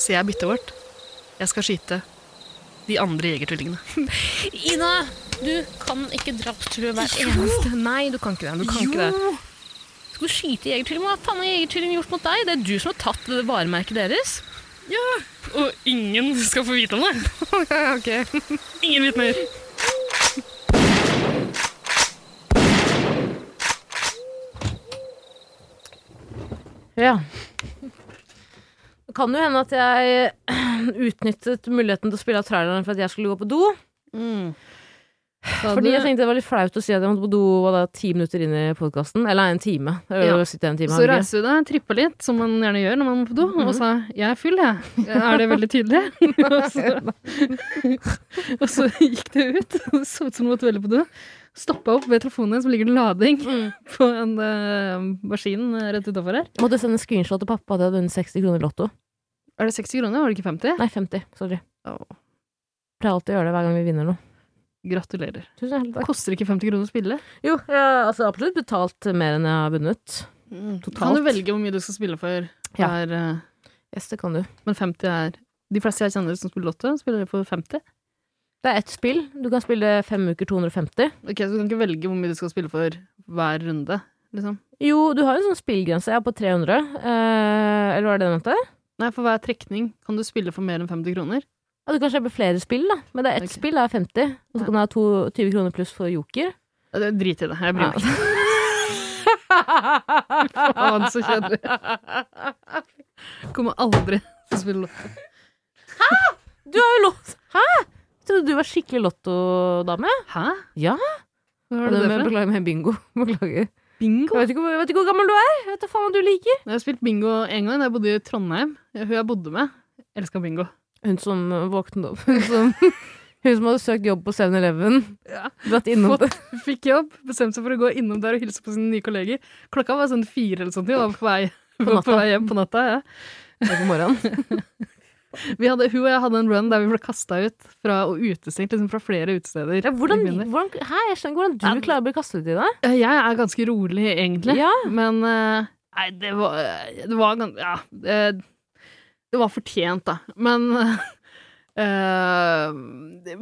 ser jeg byttet vårt. Jeg skal skyte de andre jegertvillingene. Ina, du kan ikke drapstrue hver eneste Nei, du kan ikke det. Du kan ikke det. Skal du skyte jegertvilling? Hva faen har jegertvilling gjort mot deg? Det er du som har tatt det varemerket deres. Og ingen skal få vite om [LAUGHS] det. ok. Ingen vitner. Ja. Det kan jo hende at jeg [CLEARS THROAT] utnyttet muligheten til å spille av traileren for at jeg skulle gå på do. Mm. Sa Fordi du- jeg tenkte det var litt flaut å si at jeg måtte på do var da, ti minutter inn i podkasten. Eller en time. Det er jo Ja. å sitte en time Så Helge. reiser du deg, tripper litt, som man gjerne gjør når man må på do, og sa 'jeg er full, jeg'. [LAUGHS] Er det veldig [LAUGHS] tydelig? [LAUGHS] og, så, og så gikk det ut. [LAUGHS] Det så ut som du måtte veldig på do. Stoppa opp ved telefonen din, som ligger det lading på en eh, maskin eh, rett utafor her. Jeg måtte sende screenshot til pappa at jeg hadde vunnet 60 kroner i Lotto. Er det 60 kroner? Var det ikke 50? Nei, 50. Sorry. Åh. Pleier alltid å gjøre det hver gang vi vinner noe. Gratulerer. Tusen hjertelig takk. Koster ikke 50 kroner å spille? Jo, jeg har altså absolutt betalt mer enn jeg har vunnet. Kan du velge hvor mye du skal spille for? Mm. Ja. hver, eh, Yes, det kan du. men 50 er De fleste jeg kjenner som spiller lotto, spiller for 50. Det er ett spill. Du kan spille fem uker 250. Ok, Så du kan ikke velge hvor mye du skal spille for hver runde, liksom? Jo, du har jo en sånn spillgrense. Jeg er på 300. Eh, eller var det det du mente? Nei, for hver trekning kan du spille for mer enn 50 kroner. Ja, du kan kjøpe flere spill, da. Men det er ett Ok. spill er 50. Og så kan du ha to, 20 kroner pluss for [LAUGHS] joker. Ja, det- Drit i det. Jeg bryr Ja. meg ikke. Faen, så [LAUGHS] kjedelig. Kommer aldri til å spille lotto. Du har jo lott! Hæ? Jeg trodde du var skikkelig lottodame. Hæ? Ja. Hva Og er det det, det med- for? noe? Beklager med bingo. [LAUGHS] Beklager. Jeg Bingo? vet ikke, hvor- jeg vet ikke hvor gammel du er. Jeg vet da faen hva du liker. Jeg har spilt bingo en gang da jeg bodde i Trondheim. Hun jeg bodde med, elska [LAUGHS] bingo. Liksom. Hun som eh, våknet opp. Hun som, [LAUGHS] hun som hadde søkt jobb på 7-Eleven. Ja. Dratt innom det. Hun fikk jobb, bestemte seg for å gå innom der og hilse på sine nye kolleger. Klokka var sånn fire eller sånt, hun var på vei, hun var på natta. vei hjem på natta. Ja. på morgenen. Vi hadde, hun og jeg hadde en run der vi ble kasta ut fra, og utestengt liksom fra flere utesteder. Ja, [LAUGHS] hvordan, i byen der. hvordan, hæ, jeg skjønner ikke Ja, hvordan men- du klarer å bli kastet ut i det. Eh, Jeg er ganske rolig, egentlig. Ja. Men eh, Nei, det var Det var gan- Ja. eh, Det var fortjent, da. Men [LAUGHS] uh,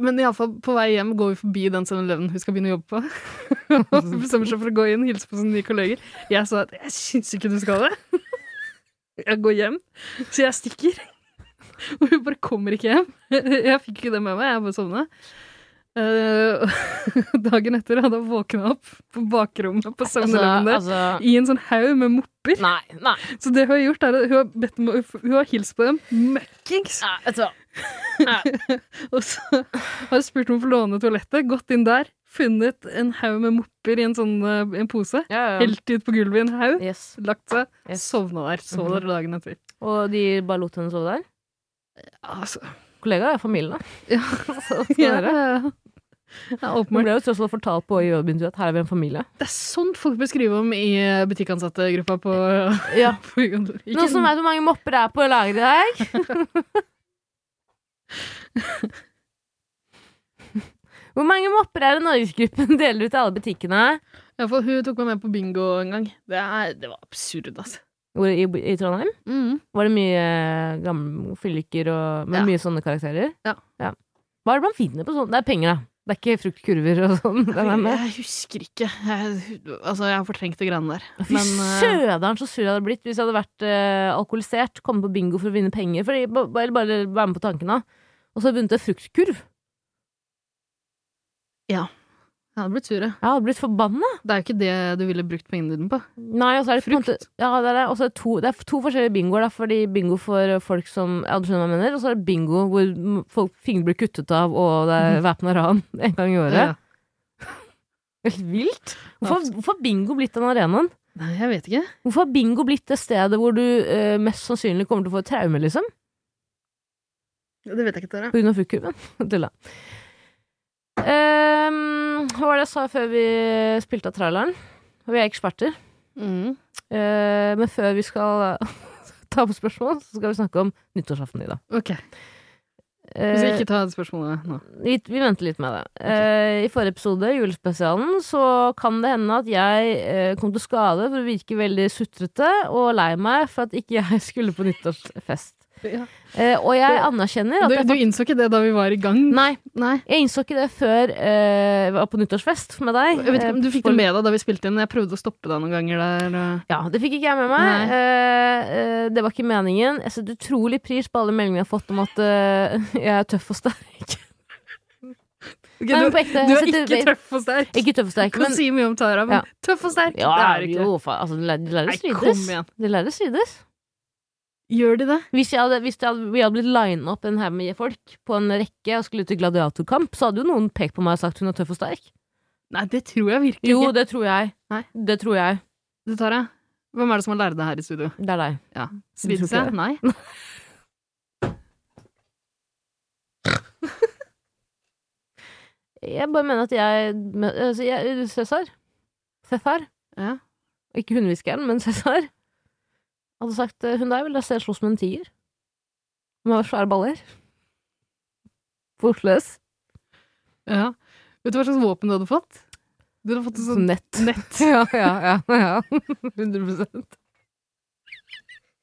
Men iallfall, på vei hjem går vi forbi den 7-Eleven hun skal begynne å jobbe på. [LAUGHS] Og bestemmer seg for å gå inn, hilse på sine nye kolleger. Jeg sa at jeg syns ikke du skal det. [LAUGHS] Jeg går hjem, så jeg stikker. [LAUGHS] Og hun bare kommer ikke hjem. [LAUGHS] Jeg fikk ikke det med meg, jeg bare sovna. Eh, [LAUGHS] dagen etter hadde jeg våkna opp på bakrommet på 7-Eleven der. altså, I en sånn haug med mopper. nei, nei. Så det hun har gjort, er at hun har, bedt om, å- hun har hilst på dem møkkings. nei vet du hva. Og så har hun spurt om å få låne toalettet, gått inn der, funnet en haug med mopper i en sånn eh, en pose, Ja, ja. helt ut på gulvet i en haug, Yes. lagt seg, Yes. sovna der. Så Mhm. der dagen etter. Og de bare lot henne sove der? Altså, [LAUGHS] Kollega er familien, da. Ja. Så skal ja, dere. ja. ja, Man åpenbart. ble jo tross alt fortalt på jobbintervjuet at her er vi en familie. Det er sånt folk bør skrive om i eh, butikkansattegruppa på, Ja. [LAUGHS] på ikke- Noen som vet hvor mange mopper det er på lageret [LAUGHS] i dag? Hvor mange mopper er det Norgesgruppen deler ut til alle butikkene? Ja, for Hun tok meg med på bingo en gang. Det, er, det var absurd, altså. Hvor, i, I Trondheim? Mhm. Var det mye gamle fylliker og med Ja. mye sånne karakterer? Ja. Hva er det man finner på sånn? Det er penger, da. Det er ikke fruktkurver og [LAUGHS] sånn. Det er med. Jeg husker ikke. Jeg, altså, jeg har fortrengt de greiene der. Fy Men, eh, søderen, så sur jeg hadde blitt hvis jeg hadde vært eh, alkoholisert, kommet på bingo for å vinne penger, for jeg ba- ba- eller bare være med på tanken da. Og så hadde jeg vunnet en fruktkurv. Jeg hadde blitt sur, jeg. Jeg hadde blitt forbanna. Det er jo ikke det du ville brukt pengene dine på. Nei, og så er det på en Frukt. måte- Ja, det er, det. Og så er det, to, det er to forskjellige bingoer, da, fordi bingo for eh, folk som Ja, du skjønner hva jeg mener, og så er det bingo hvor m- folk fingre blir kuttet av, og det [LAUGHS] er væpna ran en gang i året. Ja. Helt vilt. Hvorfor, hvorfor har bingo blitt den arenaen? Nei, jeg vet ikke. Hvorfor har bingo blitt det stedet hvor du eh, mest sannsynlig kommer til å få et traume, liksom? Det vet jeg ikke, Tara. På grunn av fruktkurven. [LAUGHS] Tulla. Ehm, hva var det jeg sa før vi spilte av traileren? Vi er eksperter. Mm. Eh, men før vi skal eh, [LAUGHS] ta på spørsmål, så skal vi snakke om nyttårsaften, Ida. Ok, Eh, så ikke ta det spørsmålet nå. vi, vi venter litt med det. Eh, I forrige episode, julespesialen, så kan det hende at jeg eh, kom til skade for å virke veldig sutrete og lei meg for at ikke jeg [LAUGHS] skulle på nyttårsfest. Eh, og jeg anerkjenner at Du, jeg du innså ikke det da vi var i gang? Nei, Nei. jeg innså ikke det før eh, jeg var på nyttårsfest med deg. Jeg vet ikke om du Eh, fikk for- det med deg da vi spilte inn. Jeg prøvde å stoppe deg noen ganger der. og- Ja, det fikk ikke jeg med meg. Nei. Eh, eh, det var ikke meningen. Jeg setter utrolig pris på alle meldingene jeg har fått om at eh, [LAUGHS] jeg er tøff og sterk. Nei, men du, på ekte. du jeg er setter- ikke tøff og sterk. Ikke tøff og sterk, kan men si mye om Tara, men Ja. tøff og sterk, ja, det er du ikke. jo, faen. Altså, de lærer- de lærer Nei, å kom strides. igjen. De lærer å strides. Gjør de det? Hvis, jeg hadde, hvis jeg hadde, vi hadde blitt lina opp en haug med folk på en rekke og skulle ut i gladiatorkamp, så hadde jo noen pekt på meg og sagt hun er tøff og sterk. Nei, det tror jeg virkelig Jo, ikke. det tror jeg. Nei. Det tror jeg. Du, Tara, hvem er det som har lært deg her i studio? Det er deg. Ja. tror ikke Svidde seg? det. Nei. Jeg bare mener at jeg, men- altså, jeg Cæsar. Cæsar. Ja. Ikke hundehviskeren, men Cæsar. Hadde sagt eh, hun der vil jeg se slåss med en tiger. Hun har svære baller. Fortløs. Ja. Vet du hva slags våpen du hadde fått? Du hadde fått en sånn Nett. [LAUGHS] [LAUGHS] nett. Ja, ja, ja. ja. [LAUGHS] 100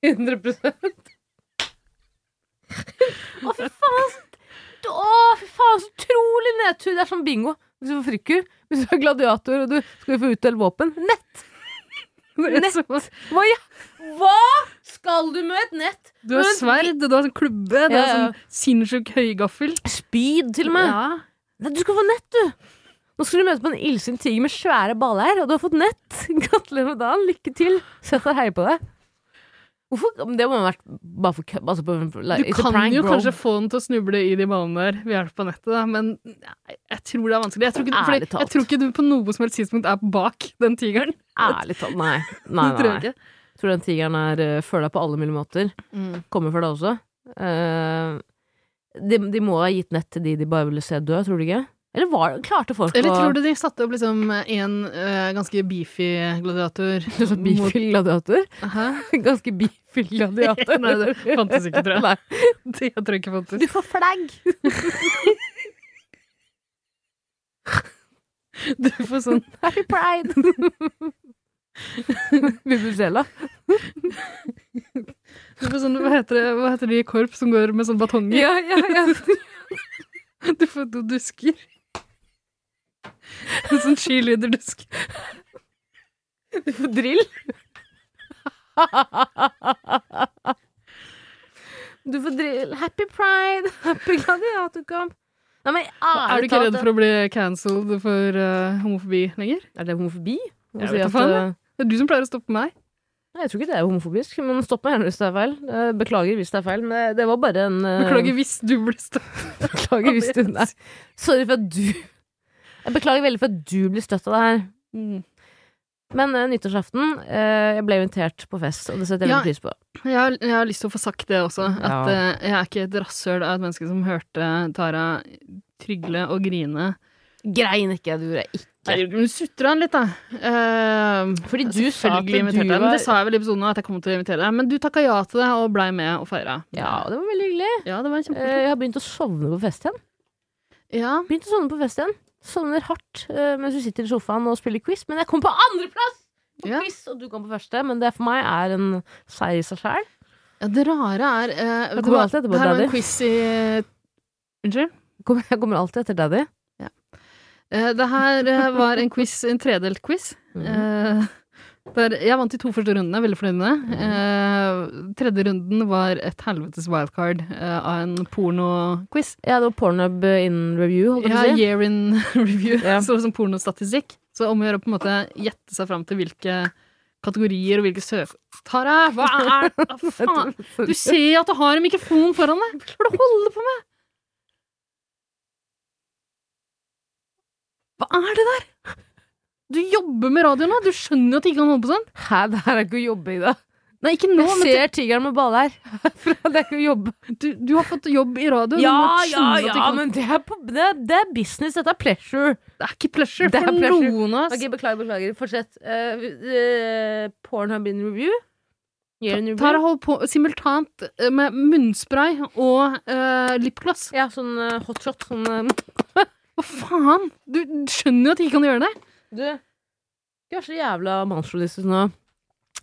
100 [LAUGHS] Å, fy faen! så- Å, fy faen, så utrolig nedtur! Det er som bingo. Hvis du får frikkur, hvis du er gladiator og du skal få utdelt våpen Nett! Nett! Hva, ja. Hva skal du med et nett? Du har sverd, du har sånn klubbe, Ja, du har ja. sånn sinnssyk høygaffel. Spyd, til og med. Ja. Nei, du skal få nett, du! Nå skal du møte på en illsint tiger med svære baller, og du har fått nett! [LAUGHS] Gratulerer med dagen, lykke til! Sett og heier på deg. Hvorfor? men Det må ha vært bare for kødd. Altså, på- like, Du it's a kan prank, jo bro. kanskje få den til å snuble i de ballene der ved hjelp av nettet, da, men jeg jeg tror det er vanskelig. Jeg tror, ikke du, Ærlig fordi, talt. jeg tror ikke du på noe som helst tidspunkt er bak den tigeren. [LAUGHS] Ærlig talt, nei. Nei, Det nei, tror jeg nei. ikke. Tror den tigeren er eh, før deg på alle millimeter. Kommer for deg også. Eh, de, de må ha gitt nett til de de bare ville se dø, tror du ikke? Eller var, klarte folk Eller tror du de satte opp liksom en eh, ganske beefy gladiator? Så bifil gladiator? Hæ? [LAUGHS] Ganske bifil gladiator. [LAUGHS] Nei, det fantes ikke, tror [LAUGHS] jeg. Nei. [LAUGHS] Det tror jeg ikke fantes. Du får flagg! Du får sånn Happy [LAUGHS] pride! Vuvuzela. Du får sånn, hva heter, det, hva heter de i korps som går med sånn batonger? Ja, ja, ja. [LAUGHS] Du får noen dusker. En sånn cheerleader-dusk. Du får drill. Du får drill. Happy pride, happy gladiatorkamp. Nei, men Er du ærlig ikke talt redd for å bli cancelled for eh, homofobi lenger? Er det homofobi? Å Jeg si vet da at, faen, eh, Det er du som pleier å stoppe meg. Nei, jeg tror ikke det er homofobisk, men stopp meg gjerne hvis det er feil. Eh, Beklager hvis det er feil, men det- det var bare en eh, Beklager hvis du blir stoppet. [LAUGHS] beklager hvis du Nei. Sorry for at du Jeg beklager veldig for at du blir støtt av det her. Mm. Men eh, nyttårsaften, eh, jeg ble invitert på fest, og det setter jeg Ja. veldig pris på. Jeg, har, jeg har lyst til å få sagt det også. At Ja. eh, jeg er ikke et rasshøl av et menneske som hørte Tara trygle og grine. Grein ikke, du gjorde ikke. Nei, Hun sutra han litt, da. Eh, Fordi jeg du sa at selvfølgelig du inviterte deg, Men var- det sa jeg vel i episoden òg, at jeg kom til å invitere deg. Men du takka ja til det og blei med og feira. Ja, og det var veldig hyggelig. Ja, det Eh, var kjempekoselig. Jeg har begynt å sovne på fest igjen. Ja. Begynt å sovne på fest igjen. Sovner hardt eh, mens du sitter i sofaen og spiller quiz, men jeg kom på andreplass! På Ja. quiz, og du kom på første, men det for meg er en seier i seg sjæl. ja, det rare er eh, vet du kommer hva? alltid etterpå, Det her var Daddy. en quiz i Unnskyld? Jeg kommer alltid etter daddy. Eh, Det her eh, var en quiz, en tredelt quiz. Mm. Eh, Der jeg vant de to første rundene, veldig fornøyd med det. Eh, Tredje runden var et helvetes wildcard eh, av en pornoquiz. Ja, det var Pornhub eh, in review, holdt jeg Ja, på [LAUGHS] å si. year in [LAUGHS] review, Ja. så sånn pornostatistikk. Så om å gjøre å på en måte gjette seg fram til hvilke kategorier og hvilke søk... Tara, hva er hva [LAUGHS] faen? Du ser jo at du har en mikrofon foran deg! Hva er det du holder på med? Hva er det der? Du jobber med radio nå! Du skjønner jo at du ikke kan holde på sånn! Hæ, det her er ikke å jobbe i, da. Nei, ikke nå, Jeg men ser tigeren med balle her. [LAUGHS] Fra det jeg jobber. du, du har fått jobb i radio. Ja, du må ja, skjønne at du ja, kan- men det er, på, det, er- det er business. Dette er pleasure. Det er ikke pleasure Det er for pleasure. noen av oss. Ok, Beklager, beklager. Fortsett. Uh, uh, Pornhub in review. Year in Tara review. holder på simultant eh, med munnspray og eh, lipgloss. Ja, sånn eh, hotshot. Sånn eh, [LAUGHS] Hva faen? Du skjønner jo at jeg ikke kan gjøre det. Du, du er så jævla mannsjournalistisk nå.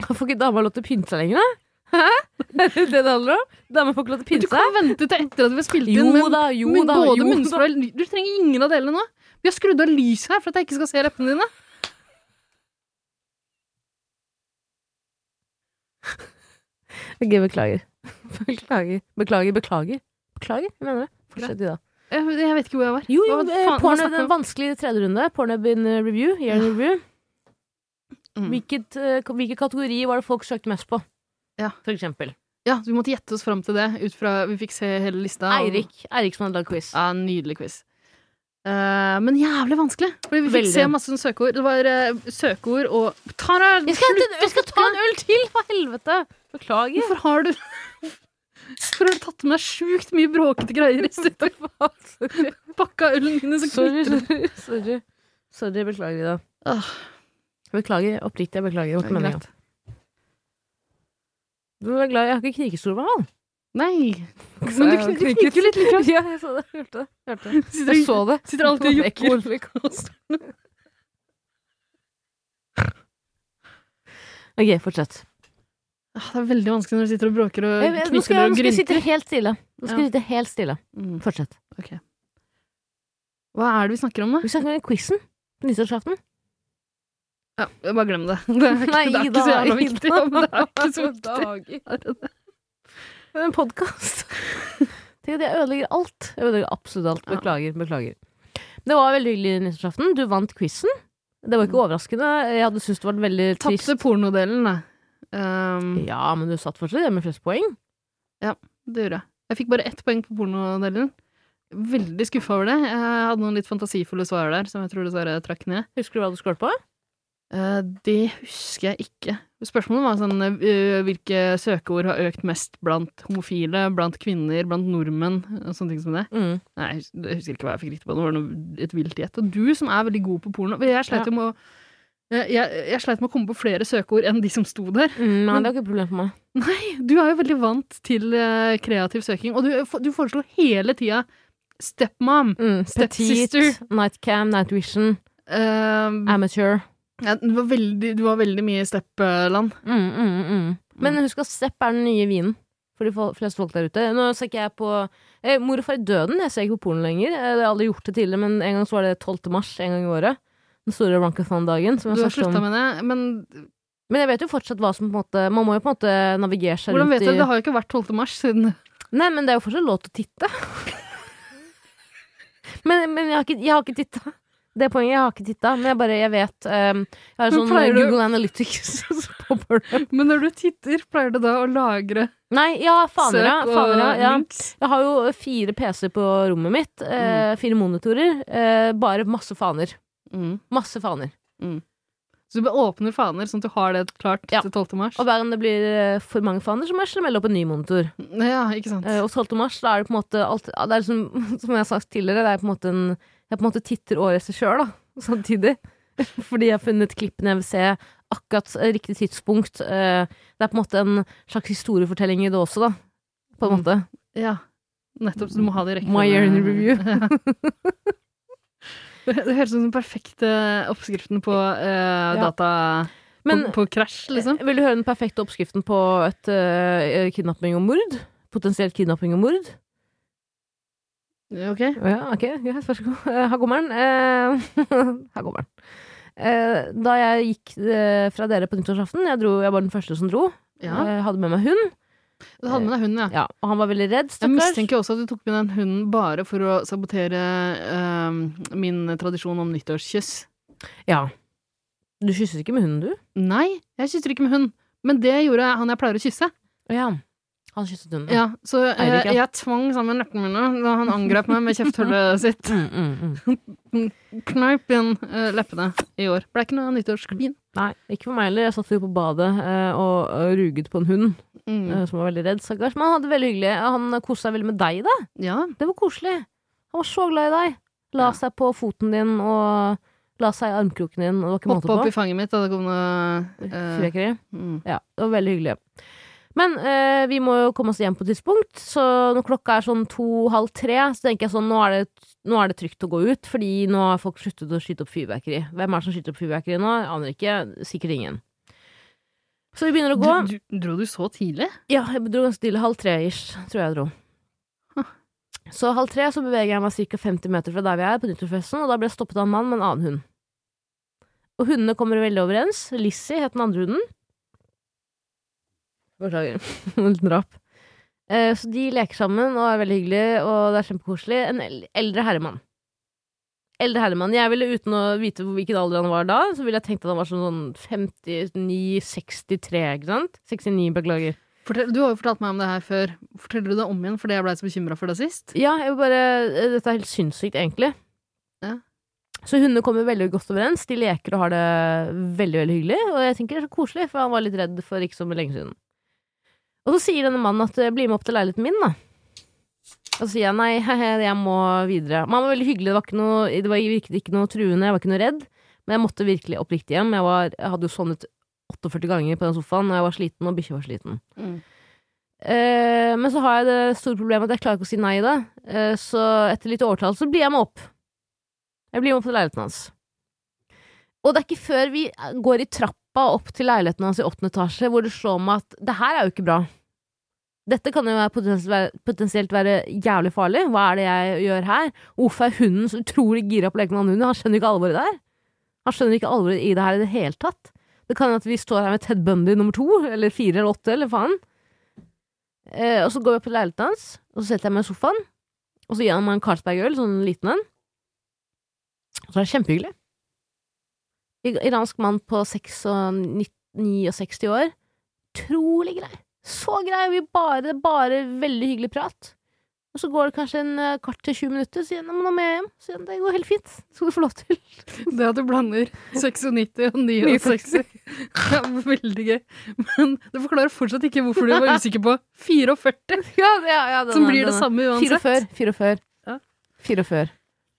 Får ikke dama lov til å pynte seg lenger, da? Hæ? [LAUGHS] Er det det det handler om? Damer får ikke lov til å Du pynte seg? kan vente til etter at vi har spilt inn. Jo men- da, jo men da. både jo da. munnspray Du trenger ingen av delene nå. Vi har skrudd av lyset her for at jeg ikke skal se leppene dine. Ok, beklager. [LAUGHS] Beklager, beklager. Beklager, beklager. jeg mener det. Fortsett, Ida. Jeg, jeg vet ikke hvor jeg var. Jo, jo, Hva eh, faen- hva Pornhub, snakker vi den om? vanskelige tredje runde. Pornhub in eh, review. Year in review. Mm. Hvilket, eh, ka- hvilken kategori var det folk søkte mest på? Ja. For eksempel. Ja, vi måtte gjette oss fram til det ut fra Vi fikk se hele lista. og- Eirik. Eirik som hadde lagd quiz. Ja, en nydelig quiz. Eh, men jævlig vanskelig. Fordi vi fikk Veldig. se masse sånne søkeord. Det var eh, søkeord og Tara, Jeg skal, hente en- jeg skal ta snakke. en øl til, for helvete! Beklager. [LAUGHS] hvorfor har du Hvorfor har du tatt med deg sjukt mye bråkete greier i stedet for pakka ølen min? Så [LAUGHS] Sorry, knytter du- sorry, sorry. Sorry, beklager, Ida. Åh, Beklager, oppriktig. Jeg beklager. Det var det ikke er meningen. greit. Du er glad jeg har ikke knirkestol med [LAUGHS] han. Nei. Men du kn- du knikker jo litt likevel. [LAUGHS] Ja, jeg så det. Hørte det. Hørte det. Sitter, Jeg så det. sitter alltid og Det var jokker. ekkoost. OK, fortsett. Åh, Ah, Det er veldig vanskelig når du sitter og bråker og Jeg, jeg, nå skal knikker jeg, og nå skal jeg sitte grynter. helt stille. Nå skal Ja. jeg sitte helt stille. Mm. Fortsett. Hva er det vi snakker om, da? Vi snakker om quizen på nyttårsaften. Ja, bare glem det. [LAUGHS] Det er ikke, det er ikke så jævla [LAUGHS] viktig. Ja, men det er ikke så viktig. viktig. Det er en podkast. Tenk at jeg ødelegger alt. Jeg ødelegger absolutt alt. Ja. Beklager. beklager. Det var veldig hyggelig nyttårsaften. Du vant quizen. Det var ikke overraskende. Jeg hadde syntes det var veldig trist. Tapte pornodelen, da. Ehm, Ja, men du satt fortsatt hjemme med flest poeng. det gjorde jeg. Jeg fikk bare ett poeng på pornodelen. Veldig skuffa over det. Jeg hadde noen litt fantasifulle svar der, som jeg tror dessverre jeg trakk ned. Husker du hva du skåret på? Eh, det husker jeg ikke. Spørsmålet var sånn eh, hvilke søkeord har økt mest blant homofile, blant kvinner, blant nordmenn, og sånne ting som det. Mm. Nei, jeg hus- jeg husker ikke hva jeg fikk riktig på. Det var noe, et vilt gjett. Og du som er veldig god på porno Jeg sleit jo med å jeg, jeg, jeg sleit med å komme på flere søkeord enn de som sto der. Mm, nei, det var ikke et problem for meg. Du er jo veldig vant til eh, kreativ søking, og du, du foreslo hele tida stepmom. Mm. Petite, Stepsister. Nightcam, Nightvision, Ehm, Amateur. ja, du, var veldig, du var veldig mye i steppland. Mm, mm, mm. Men husk at Stepp er den nye vinen for de fol- fleste folk der ute. Nå ser ikke jeg på eh, Mor og far i døden. Jeg ser ikke på porno lenger. Eh, Det har aldri gjort det tidligere, men en gang så var det 12. mars en gang i året. Den store Runkathon-dagen. som Du jeg har snakket slutta om. med det, men Men jeg vet jo fortsatt hva som på en måte Man må jo på en måte navigere seg hvordan rundt vet du i det? Det har jo ikke vært 12. mars siden [LAUGHS] Nei, men det er jo fortsatt lov til å titte. [LAUGHS] men men jeg har ikke, jeg har ikke titta. Det er poenget. Jeg har ikke titta, men jeg bare jeg vet ehm, Jeg har Men sånn pleier du- Google Analytics [LAUGHS] på porno. Men når du titter, pleier du da å lagre Nei, ja, faner, ja. søk og Faner, ja. ja. links? Jeg har jo fire PC-er på rommet mitt. Eh, fire monitorer. Eh, bare masse faner. Mm. Masse faner. Så du bare åpner faner, sånn at du har det klart Ja. til 12. mars? Og hver gang det blir eh, for mange faner, så må jeg smelle opp en ny monitor. Ja, ikke sant. Eh, og 12. mars, da er det på en måte alt ja, Det er liksom, [LAUGHS] som jeg har sagt tidligere, det er på en måte en Jeg på en måte titter året etter sjøl, da. [LAUGHS] Samtidig. Fordi jeg har funnet klippene jeg vil se. Akkurat eh, riktig tidspunkt. Eh, det er på en måte en slags historiefortelling i det også, da. På en Mm. måte. Ja. Nettopp, så du må ha det i rekkefølge. My year in [LAUGHS] review. Det det høres ut som den perfekte oppskriften på eh, Ja. data Men på, på crash, liksom. Vil du høre den perfekte oppskriften på et eh, kidnapping og mord? Potensielt kidnapping og mord? Ok. Ja, Eh, ok, greit, vær så god. Eh, Her kommer den. Eh, [LAUGHS] her kommer den. Eh, da jeg gikk eh, fra dere på nyttårsaften, jeg, dro, jeg var den første som dro, Ja. jeg hadde med meg hund, Du hadde med deg hunden, ja. ja, og han var veldig redd, Jeg stakkars. mistenker også at du tok med den hunden bare for å sabotere eh, min tradisjon om nyttårskyss. Ja. Du kysser ikke med hunden, du? Nei, jeg kysser ikke med hund. Men det gjorde han jeg pleier å kysse. Å ja. Han kysset hunden. Ja, så jeg, Eirik, ja. jeg tvang sammen leppene mine da han angrep meg med kjefthullet sitt. Mm, mm, mm. Kneip igjen eh, leppene i år. Ble ikke noe nyttårsklin. Nei, ikke for meg heller. Jeg satt jo på badet eh, og, og ruget på en hund Mm. eh, som var veldig redd. Stakkars. Men han hadde det veldig hyggelig. Han koste seg veldig med deg, da. Ja. Det var koselig. Han var så glad i deg. La Ja. seg på foten din og la seg i armkroken din. Og det var ikke Hoppa opp i måte på. fanget mitt, og det kom noe eh, Fyrverkeri. mm. Ja, det var veldig hyggelig. Men eh, vi må jo komme oss hjem på et tidspunkt, så når klokka er sånn to-halv tre, så tenker jeg sånn nå er, det, nå er det trygt å gå ut, fordi nå har folk sluttet å skyte opp fyrverkeri. Hvem er det som skyter opp fyrverkeri nå? Jeg aner ikke. Sikkert ingen. Så vi begynner å gå. Du, du, dro du så tidlig? Ja, jeg dro ganske tidlig. Halv tre-ish, tror jeg jeg dro. Så halv tre så beveger jeg meg ca. 50 meter fra der vi er, på nyttårsfesten, og da ble jeg stoppet av en mann med en annen hund. Og hundene kommer veldig overens. Lizzie het den andre hunden. Beklager. [LAUGHS] En liten rap. Eh, Så de leker sammen og er veldig hyggelige, og det er kjempekoselig. En el- eldre herremann. Eldre herremann. Jeg ville uten å vite hvor- hvilken alder han var da, så ville jeg tenkt at han var sånn 59-63, ikke sant? 69, beklager. Fortell, du har jo fortalt meg om det her før. Forteller du det om igjen fordi jeg blei så bekymra for det sist? Ja, jeg vil bare eh, Dette er helt sinnssykt, egentlig. Ja. Så hundene kommer veldig godt overens. De leker og har det veldig veldig hyggelig. Og jeg tenker det er så koselig, for han var litt redd for ikke så lenge siden. Og så sier denne mannen at eh, 'bli med opp til leiligheten min', da. Og så sier jeg nei, [LAUGHS] jeg må videre. Men han var veldig hyggelig, det, var ikke noe, det var, virket ikke noe truende, jeg var ikke noe redd. Men jeg måtte virkelig oppriktig hjem. Jeg, var, jeg hadde jo sovnet 48 ganger på den sofaen, og jeg var sliten, og bikkja var sliten. Mm. Eh, men så har jeg det store problemet at jeg klarer ikke å si nei i det. Eh, så etter litt overtale så blir jeg med opp. Jeg blir med opp til leiligheten hans. Og det er ikke før vi går i trappa opp til leiligheten hans i åttende etasje, hvor det slår meg at det her er jo ikke bra. Dette kan jo være potensielt, være potensielt være jævlig farlig. Hva er det jeg gjør her? Hvorfor er hunden så utrolig gira på å leke med annen hund? Han skjønner jo ikke alvoret der. Han skjønner ikke alvoret i det her i det hele tatt. Det kan jo at vi står her med Ted Bundy nummer to, eller fire eller åtte, eller faen. Eh, og så går jeg opp til leiligheten hans, og så setter jeg meg i sofaen. Og så gir han meg en Carlsberg-øl, sånn liten en. Og så er det kjempehyggelig. I- Iransk mann på 6 og nitt- 69 år. Utrolig grei. Så grei. Vi bare, bare veldig hyggelig prat. Og så går det kanskje en eh, kvart til 20 minutter, så sier han "Ja, men nå må jeg hjem. Så sier han det går helt fint. Det skal du få lov til. Det at du blander 96 og 69 [LAUGHS] Det er veldig gøy. Men det forklarer fortsatt ikke hvorfor du var usikker på 44, [LAUGHS] Ja, ja, ja, som blir det samme Fire uansett. før. Fire før. Ja. Fire før.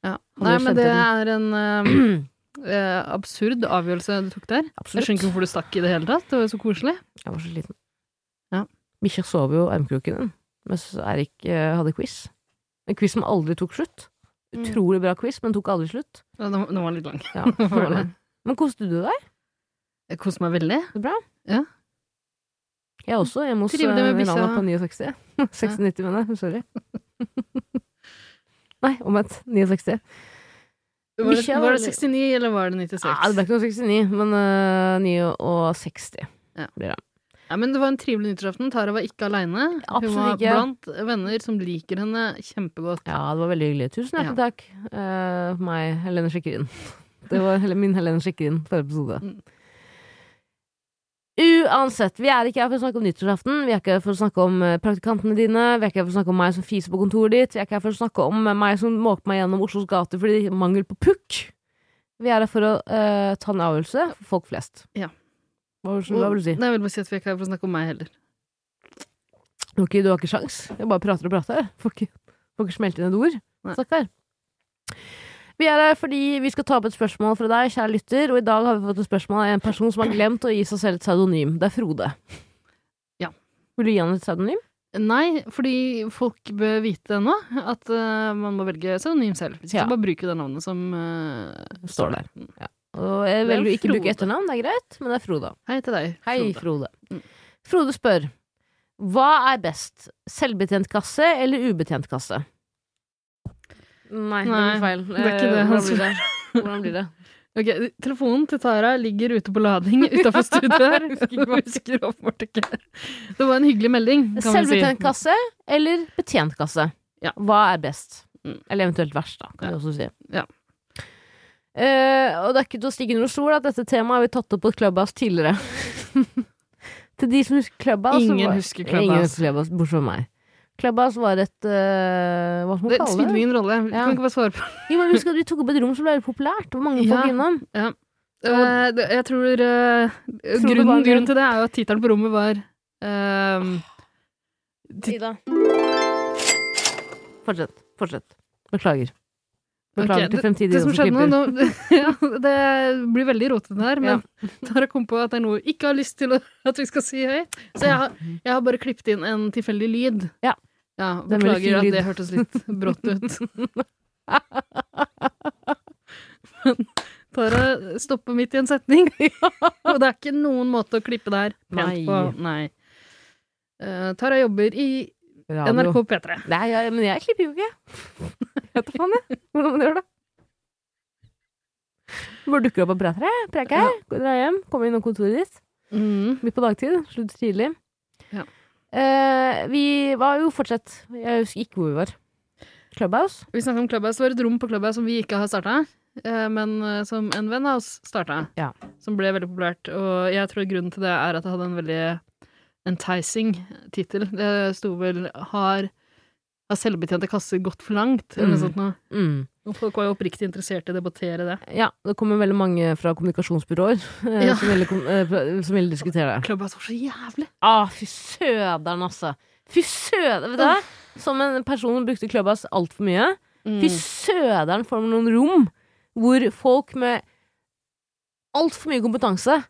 Ja. Han Nei, gjør men det skjønnheten. er en [CLEARS THROAT] eh, eh, absurd avgjørelse du tok der. Jeg skjønner ikke hvorfor du stakk i det hele tatt. Det var jo så koselig. Jeg var så sliten. Ja. Bikkja sov jo i armkroken din mens Erik eh, hadde quiz. En quiz som aldri tok slutt. Mm. Utrolig bra quiz, men tok aldri slutt. Ja, Den den var litt lang. [LAUGHS] Ja, det var det. men koste du deg? Jeg koste meg veldig. Jeg også, hjemme hos eh, Trivelig med Rana bikkja. på [LAUGHS] 69. 96, mener jeg. [LAUGHS] Sorry. Nei, omvendt. 69. Var det, Bikkja var var det litt- 69, eller var det 96? Nei, det ble ikke noe 69, men eh, 69. Ja, men det var en trivelig nyttårsaften. Tara var ikke aleine. Hun var Absolutt ikke. blant venner som liker henne kjempegodt. Ja, det var veldig hyggelig. Tusen hjertelig takk eh, for meg, Helene Sjekkerin. [LAUGHS] Det var hele min Helene Sjekkerin forrige episode. Mm. Uansett, vi er ikke her for å snakke om nyttårsaften, vi er ikke her for å snakke om eh, praktikantene dine, vi er ikke her for å snakke om meg som fiser på kontoret ditt, vi er ikke her for å snakke om eh, meg som måker meg gjennom Oslos gater fordi det er mangel på pukk. Vi er her for å eh, ta en avgjørelse for folk flest. Ja. Hva, vil- hva vil du si? Nei, jeg vil bare si at vi er ikke her for å snakke om meg heller. Du har ikke, du har ikke sjans. Jeg bare prater og prater. Får ikke, får ikke smelt inn et ord. Nei. Stakkar. Vi er her fordi vi skal ta opp et spørsmål fra deg, kjære lytter, og i dag har vi fått et spørsmål av en person som har glemt å gi seg selv et pseudonym. Det er Frode. Ja. Vil du gi han et pseudonym? Nei, fordi folk bør vite nå at eh, man må velge pseudonym selv. Hvis ikke Ja. så bare bruke det navnet som eh, Står der. Mm. Og jeg Det er velger å ikke Frode. bruke etternavn, det er greit, men det er Frode. Hei til deg. Hei, Frode. Frode. Mm. Frode spør Hva er best? Selvbetjent kasse eller ubetjent kasse? Nei, det Nei, blir feil. er ikke det Eh, han Hvordan blir det? Hvordan blir det? Ok, telefonen til Tara ligger ute på [LAUGHS] lading utafor studioet her. Husker ikke hva- Husker åpenbart ikke. Det var en hyggelig melding, kan vi si. Selvbetjent kasse eller betjent kasse? Ja. Hva er best? Mm. Eller eventuelt verst, da, kan Ja. vi også si. Ja. Eh, og det er ikke til å stikke under stol at dette temaet har vi tatt opp på Clubhouse tidligere. [LAUGHS] Til de som husker Clubhouse Ingen så var- husker Ingen Clubhouse. husker Clubhouse, bortsett fra meg. Clubhouse var et eh, Hva skal man Det kalle spiller det? ingen rolle. Vi Ja. kan ikke bare svare på Jo, men husk at Vi tok opp et rom som ble veldig populært. Det var mange Ja. folk innom. Eh, det- Jeg tror eh, det var grunnen, en- grunnen til det er jo at tittelen på rommet var ehm, Ida. Fortsett. Fortsett. Beklager. Ok, Beklager til fremtidige Det som skjedde nå, klipper. nå [LAUGHS] ja, Det blir veldig rotete her, men [LAUGHS] Tara kom på at det er noe jeg ikke har lyst til å- [LAUGHS] at vi skal si høyt. Så jeg har, jeg har bare klippet inn en tilfeldig lyd. Ja. Ja, Det er en veldig fin Beklager at lyd. det hørtes litt [LAUGHS] brått ut. Men Tara stopper midt i en [LAUGHS] setning, og det er ikke noen måte å klippe det her pent Nei. på. Nei. Eh, Tara jobber i Radio. NRK P3. Nei, jeg, men jeg klipper jo ikke. Jeg vet da faen, jeg. Hvordan man gjør det. Bare dukker opp og prater her. Preker her. Gå- Dra hjem. Komme innom kontoret ditt. Mm. Midt på dagtid. Slutt tidlig. Ja. Eh, vi var jo fortsatt Jeg husker ikke hvor vi var. Clubhouse. Vi snakket om Clubhouse. Det var et rom på Clubhouse som vi ikke har starta, men eh, som en venn av oss starta. Ja. Som ble veldig populært. Og jeg tror grunnen til det er at det hadde en veldig enticing tittel. Det sto vel har, har selvbetjente kasser gått for langt? Eller noe Mm. sånt noe. Mm. Og folk var jo oppriktig interessert i å debattere det. Ja, det kommer veldig mange fra kommunikasjonsbyråer eh, Ja. som, ville, kom- eh, pra- som ville diskutere det. Clubhouse var så jævlig! Ah, fy søderen, altså. Fy søderen. Vet du hva? Som en person som brukte Clubhouse altfor mye. Mm. Fy søderen for noen rom hvor folk med altfor mye kompetanse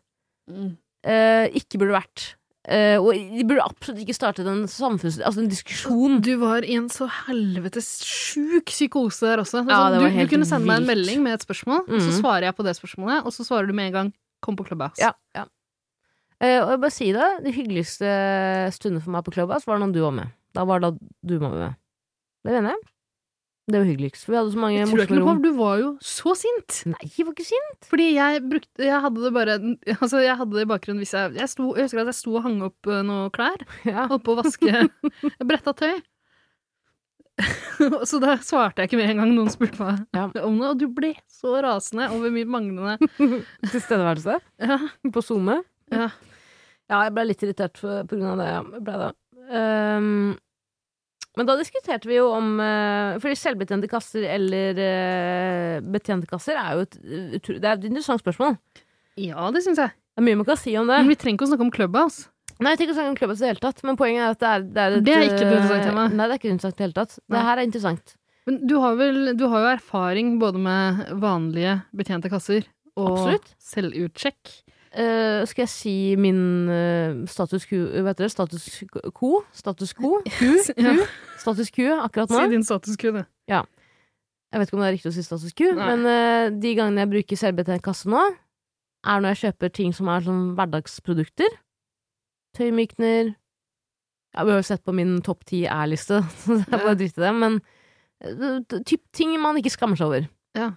Mm. eh, ikke burde vært. Eh, og de burde absolutt ikke startet en samfunns... Altså en diskusjon. Du var i en så helvetes sjuk psykose der også. Altså, Ja, det du, var helt du kunne sende meg en vilt. melding med et spørsmål, og så Mhm. svarer jeg på det spørsmålet, og så svarer du med en gang 'kom på Clubhouse'. Ja, ja. Eh, og jeg bare sier det, de hyggeligste stundene for meg på Clubhouse var når du var med. Da var da du var med. Det mener jeg. Det var hyggeligst, for vi hadde så mange Jeg tror ikke morsomme noe rom. på, du var jo så sint! Nei, jeg var ikke sint. Fordi jeg brukte Jeg hadde det bare Altså, jeg hadde det i bakgrunnen hvis jeg Jeg, sto, jeg husker at jeg sto og hang opp eh, noe klær. [LAUGHS] Ja. Holdt på [LAUGHS] å vaske Jeg bretta tøy. [LAUGHS] så da svarte jeg ikke med en gang noen spurte meg Ja. om det, og du ble så rasende over min [LAUGHS] manglende Tilstedeværelse ja. på SoMe. Ja. Ja, jeg ble litt irritert for, på grunn av det. Ja. Jeg ble det. Ehm, men da diskuterte vi jo om uh, Fordi selvbetjente kasser eller eh, betjente kasser er jo et, utro- det er et interessant spørsmål. ja, det syns jeg. Det er mye man kan si om det. Men vi trenger ikke å snakke om altså. Clubhouse. Nei, jeg tenker ikke å snakke om Clubhouse i det hele tatt, men poenget er at det er, det er et Det er ikke et eh, interessant tema. Nei, det er ikke interessant i det hele tatt. Nei. Det her er interessant. Men du har vel Du har jo erfaring både med vanlige betjente kasser og Absolutt. selvutsjekk. Eh, skal jeg si min eh, status quo Hva heter det? Status quo? Status quo? [LAUGHS] Ja, Status quo akkurat nå? si din status quo, du. Jeg vet ikke om det er riktig å si status quo, Nei. men eh, de gangene jeg bruker selvbetjent kasse nå, er når jeg kjøper ting som er sånn hverdagsprodukter. Tøymykner ja, Vi har jo sett på min topp ti æ-liste, [LAUGHS] så det er bare å drite i det, men eh, t- typ ting man ikke skammer seg over. Ja.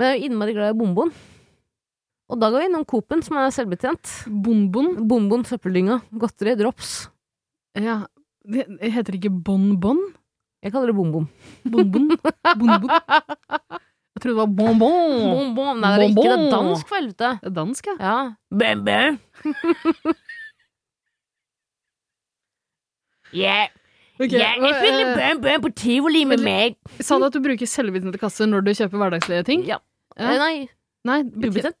Men jeg er jo innmari glad i Bonbon. Og da går vi innom Coop-en, som er selvbetjent. Bonbon. Bonbon, søppeldynga, godteri, drops. Ja, det det heter ikke bonbon? Jeg kaller det Bonbon. Bonbon? Bonbon? Jeg trodde det var bonbon. Bonbon! Nei, det er det ikke. Det er Mm. Bonbon. dansk, for helvete. Det er dansk, ja. Ja. Bæ-bæ. [LAUGHS] Ja, Ok, ja, jeg hva, spiller eh, bæ-bæ på tivoli med men- meg. Sa du at du bruker selvbetjente kasser når du kjøper hverdagslige ting? Ja. Ja. Eh, Nei, Nei, betjent.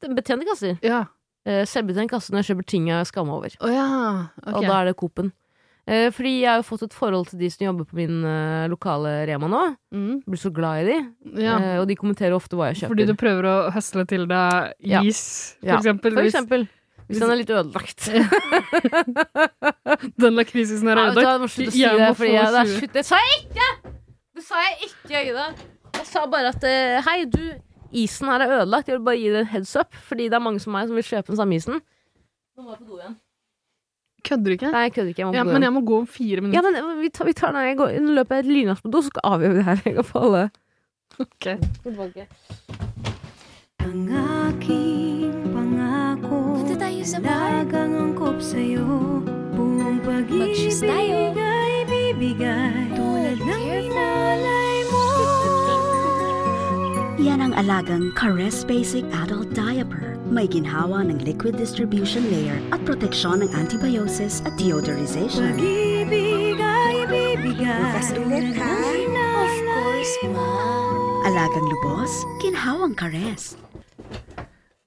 ubetjent, betjente kasser. Ja. Eh, Selvbetjent kasse når jeg kjøper ting jeg skammer meg over. Å ja. Og Ok. da er det Coop-en. Eh, Fordi jeg har jo fått et forhold til de som jobber på min eh, lokale Rema nå. Mm, Jeg blir så glad i de. ja. Eh, Og de kommenterer ofte hva jeg kjøper. Fordi du prøver å høsle til deg Ja. is, for Ja, eksempel. For hvis eksempel. Hvis den er litt ødelagt. Den lakrisisen er Nei, vet du hva, ødelagt. jeg må slutte å si Jeg det, må fordi få jeg, det, er 20. slutt. det sa jeg ikke! Det sa jeg ikke, Ida. Jeg sa bare at eh, hei, du, isen her er ødelagt. Jeg vil bare gi deg en heads up, fordi det er mange som meg som vil kjøpe den samme isen. Nå må jeg på do igjen. Kødder du ikke? Nei, jeg kødder ikke. Jeg må Ja, på do igjen. men jeg må gå om fire Ja, minutter. men eh, vi tar, vi tar den her. Jeg går, nå løper jeg lynraskt på do, så skal avgjøre det her. [LAUGHS] Jeg kan få alle Ok. tilbake. Ang aking pangako Punta tayo sa bar. Lagang angkop sa'yo Buong Mag-shoes pag-ibig tayo. ay bibigay Tulad ng inalay mo Careful. Yan ang alagang Caress Basic Adult Diaper May ginhawa ng liquid distribution layer at proteksyon ng antibiosis at deodorization. Pag-ibig ay bibigay. Magastulit ka? Of course, ma'am. Alagang lubos, ginhawang kares.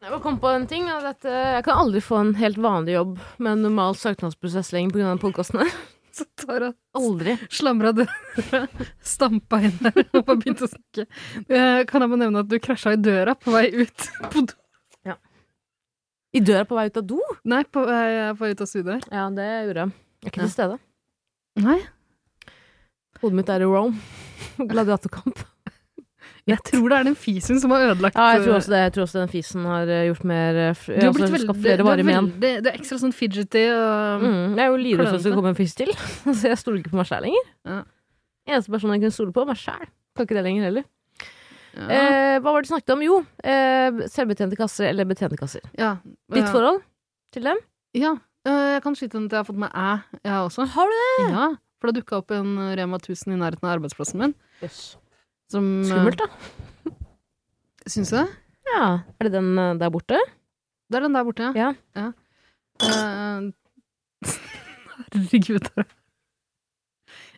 Jeg må komme på en ting. At dette- jeg kan aldri få en helt vanlig jobb med en normal søknadsprosess lenger pga. podkasten. Så Tara Aldri. slamra døra, [LAUGHS] stampa inn der og bare begynte å snakke. Eh, Kan jeg bare nevne at du krasja i døra på vei ut [LAUGHS] på do? I døra på vei ut av do? Nei, på vei, på vei ut av studio her. Ja, det gjorde jeg. Jeg er ikke Ja. til stede. Nei, Hodet mitt er i Rome. [LAUGHS] Gladiatorkamp. jeg tror det er den fisen som har ødelagt Ja, jeg tror også det. Jeg tror også den fisen har eh, gjort mer eh, f- Du har altså, blitt veldig, skapt flere varer med igjen. Du er, veldig, du er ekstra sånn fidgety og Mm, jeg er jo livredd for at det Klønete. skal komme en fis til. [LAUGHS] Så jeg stoler ikke på meg sjæl lenger. Ja. Eneste personen jeg kunne stole på, var meg sjæl. Kan ikke det lenger heller. ja. Eh, hva var det du snakket om? Jo, eh, selvbetjente kasser eller betjente kasser. ja. Ditt forhold til dem? Ja. Eh, Jeg kan skyte inn at jeg har fått meg æ, jeg også. Har du Ja, for det dukka opp en Rema 1000 i nærheten av arbeidsplassen min. det? Som, Skummelt, da. eh, Syns du det? Ja. Er det den eh, der borte? Det er den der borte, Ja. Eh, [LAUGHS] Herregud, Tara.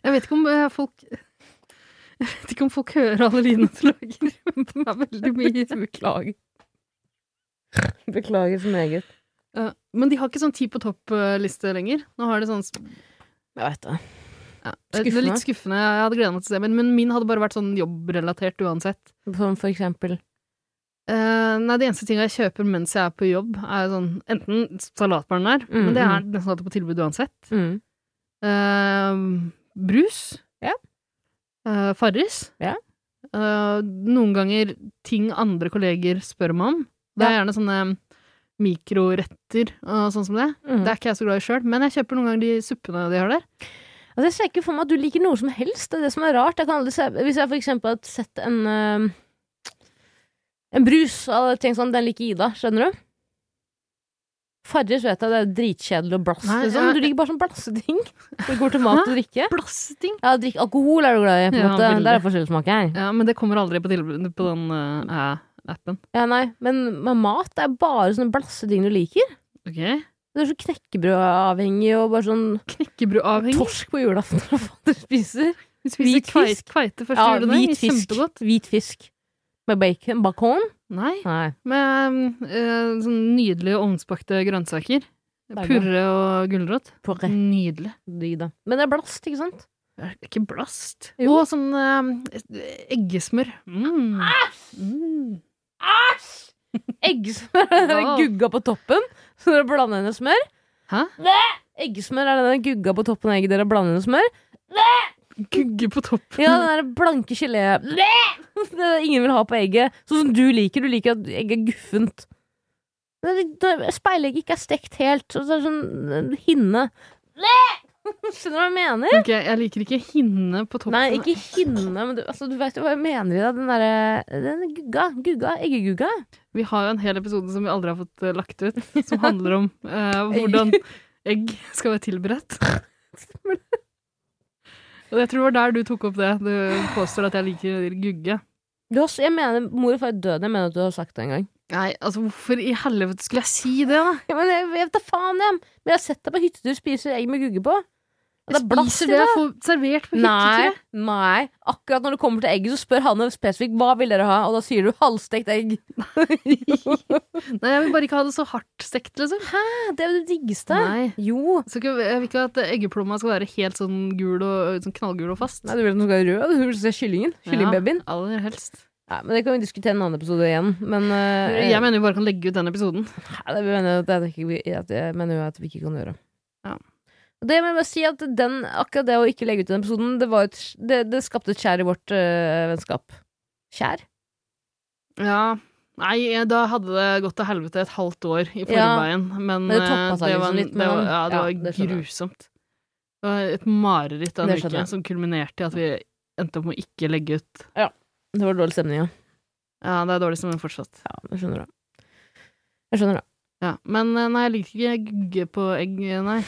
Jeg vet ikke om eh, folk [LAUGHS] Jeg vet ikke om folk hører alle lydene du lager, [LAUGHS] men de er veldig mye Beklager. Beklager så meget. Eh, Men de har ikke sånn ti på topp-liste lenger. Nå har de sånn sp- Jeg veit det. ja, Det er litt skuffende. Jeg hadde gleda meg til å se min, men min hadde bare vært sånn jobbrelatert uansett. Som for eksempel Eh, nei, de eneste tinga jeg kjøper mens jeg er på jobb, er sånn enten salatbaren der, Mm, men det er mm. nesten alltid på tilbud uansett. mm. Eh, brus. Ja. Eh, Farris. Ja. Eh, noen ganger ting andre kolleger spør meg om. Det er gjerne sånne mikroretter og sånn som det. Mm. Det er ikke jeg så glad i sjøl, men jeg kjøper noen ganger de suppene de har der. Altså, jeg ser ikke for meg at du liker noe som helst. Det er det som er rart. Jeg kan aldri se, hvis jeg for eksempel hadde sett en eh, En brus, hadde jeg tenkt sånn Den liker Ida, skjønner du? Farris vet jeg, det er dritkjedelig og blass, Nei, liksom. jeg- Men du liker bare sånn blasseting. Det går til mat og drikke. Plasting! Ja, drikk, alkohol er du glad i. på en Ja, måte. veldig. Der er forskjellssmak her. Ja, men det kommer aldri på tilbud på den eh, appen. Ja, nei, men men mat er bare sånne blasseting du liker. Ok. Du er så knekkebrødavhengig og bare sånn Knekkebrødavhengig. torsk på julaften og hva du spiser. Vi spiser Hvit kvei- fisk. kveite første Ja, juledag. hvit fisk. Kjempegodt. Hvit fisk med bacon. Bacon? Nei, Nei. med eh, sånn nydelige ovnsbakte grønnsaker. Deilig. Purre og gulrot. Porre. Nydelig. Digg, da. Men det er blast, ikke sant? Det er ikke blast. Jo. Og sånn eh, eggesmør. Mm. Mm. [LAUGHS] Eggesmør er den Wow. gugga på toppen, så dere blander inn i smør. Hæ? Blæ! Eggesmør er den gugga på toppen av egget dere blander inn i smør. Gugge på [LAUGHS] toppen. Ja, den der blanke gelé... Blæ! [LAUGHS] Det er det ingen vil ha på egget. Sånn som du liker. Du liker at egget er guffent. Men det- det- Speilegget ikke er stekt helt. Så det er sånn en hinne. Blæ! [LAUGHS] Skjønner du hva jeg mener? [LAUGHS] Ok, jeg liker ikke hinne på toppen. Nei, ikke hinne, men du, altså, du vet jo hva jeg mener i det. Den derre den gugga. Gugga. Eggegugga. Vi har jo en hel episode som vi aldri har fått eh, lagt ut, som handler om [LAUGHS] eh, hvordan egg skal være tilberedt. [LAUGHS] Og jeg tror det var der du tok opp det. Du påstår at jeg liker gugge. Du har, s- jeg mener, mor og far døde, jeg mener at du har sagt det en gang. Nei, altså hvorfor i helvete skulle jeg si det, da? Ja, men jeg vet da faen, jeg. Men jeg har sett deg på hyttetur spise egg med gugge på. Og det er blast i Spiser det det. jeg får servert på Nei, hyttetur? nei. Akkurat når du kommer til egget, så spør Hanne spesifikt hva vil dere ha, og da sier du halvstekt egg. jeg? Nei, jeg vil bare ikke ha det så hardt stekt, liksom. [LAUGHS] Ja, Det er jo det diggeste. Nei. Jo. Så ikke, jeg vil ikke at eggeplomma skal være helt sånn gul og sånn knallgul og fast. Nei, du vil at den skal være rød? Du vil se kyllingen? Kyllingbabyen? Ja, aller helst. Nei, men Det kan vi diskutere en annen episode igjen. Men eh, Jeg mener vi bare kan legge ut den episoden. Nei, det mener jeg at, jeg ikke, vi- at jeg mener jo at vi ikke kan gjøre. Ja. Og Det må jeg bare si at den, akkurat det å ikke legge ut den episoden, det, var et, det, det skapte et skjær i vårt øh, vennskap. Skjær? Ja. Nei, eh, da hadde det gått til helvete et halvt år i forveien. Men, Men det toppet eh, seg liksom var, en- litt det var, mellom- ja, det Ja, var det skjønner jeg. grusomt. Det var et mareritt av en Det skjønner uke jeg. som kulminerte i at vi endte opp med å ikke legge ut. Det var dårlig stemning, ja. Ja, det er dårlig som en fortsatt. ja jeg skjønner det. Jeg skjønner det. Ja. Men eh, nei, jeg liker ikke gugge på egg, eh, nei.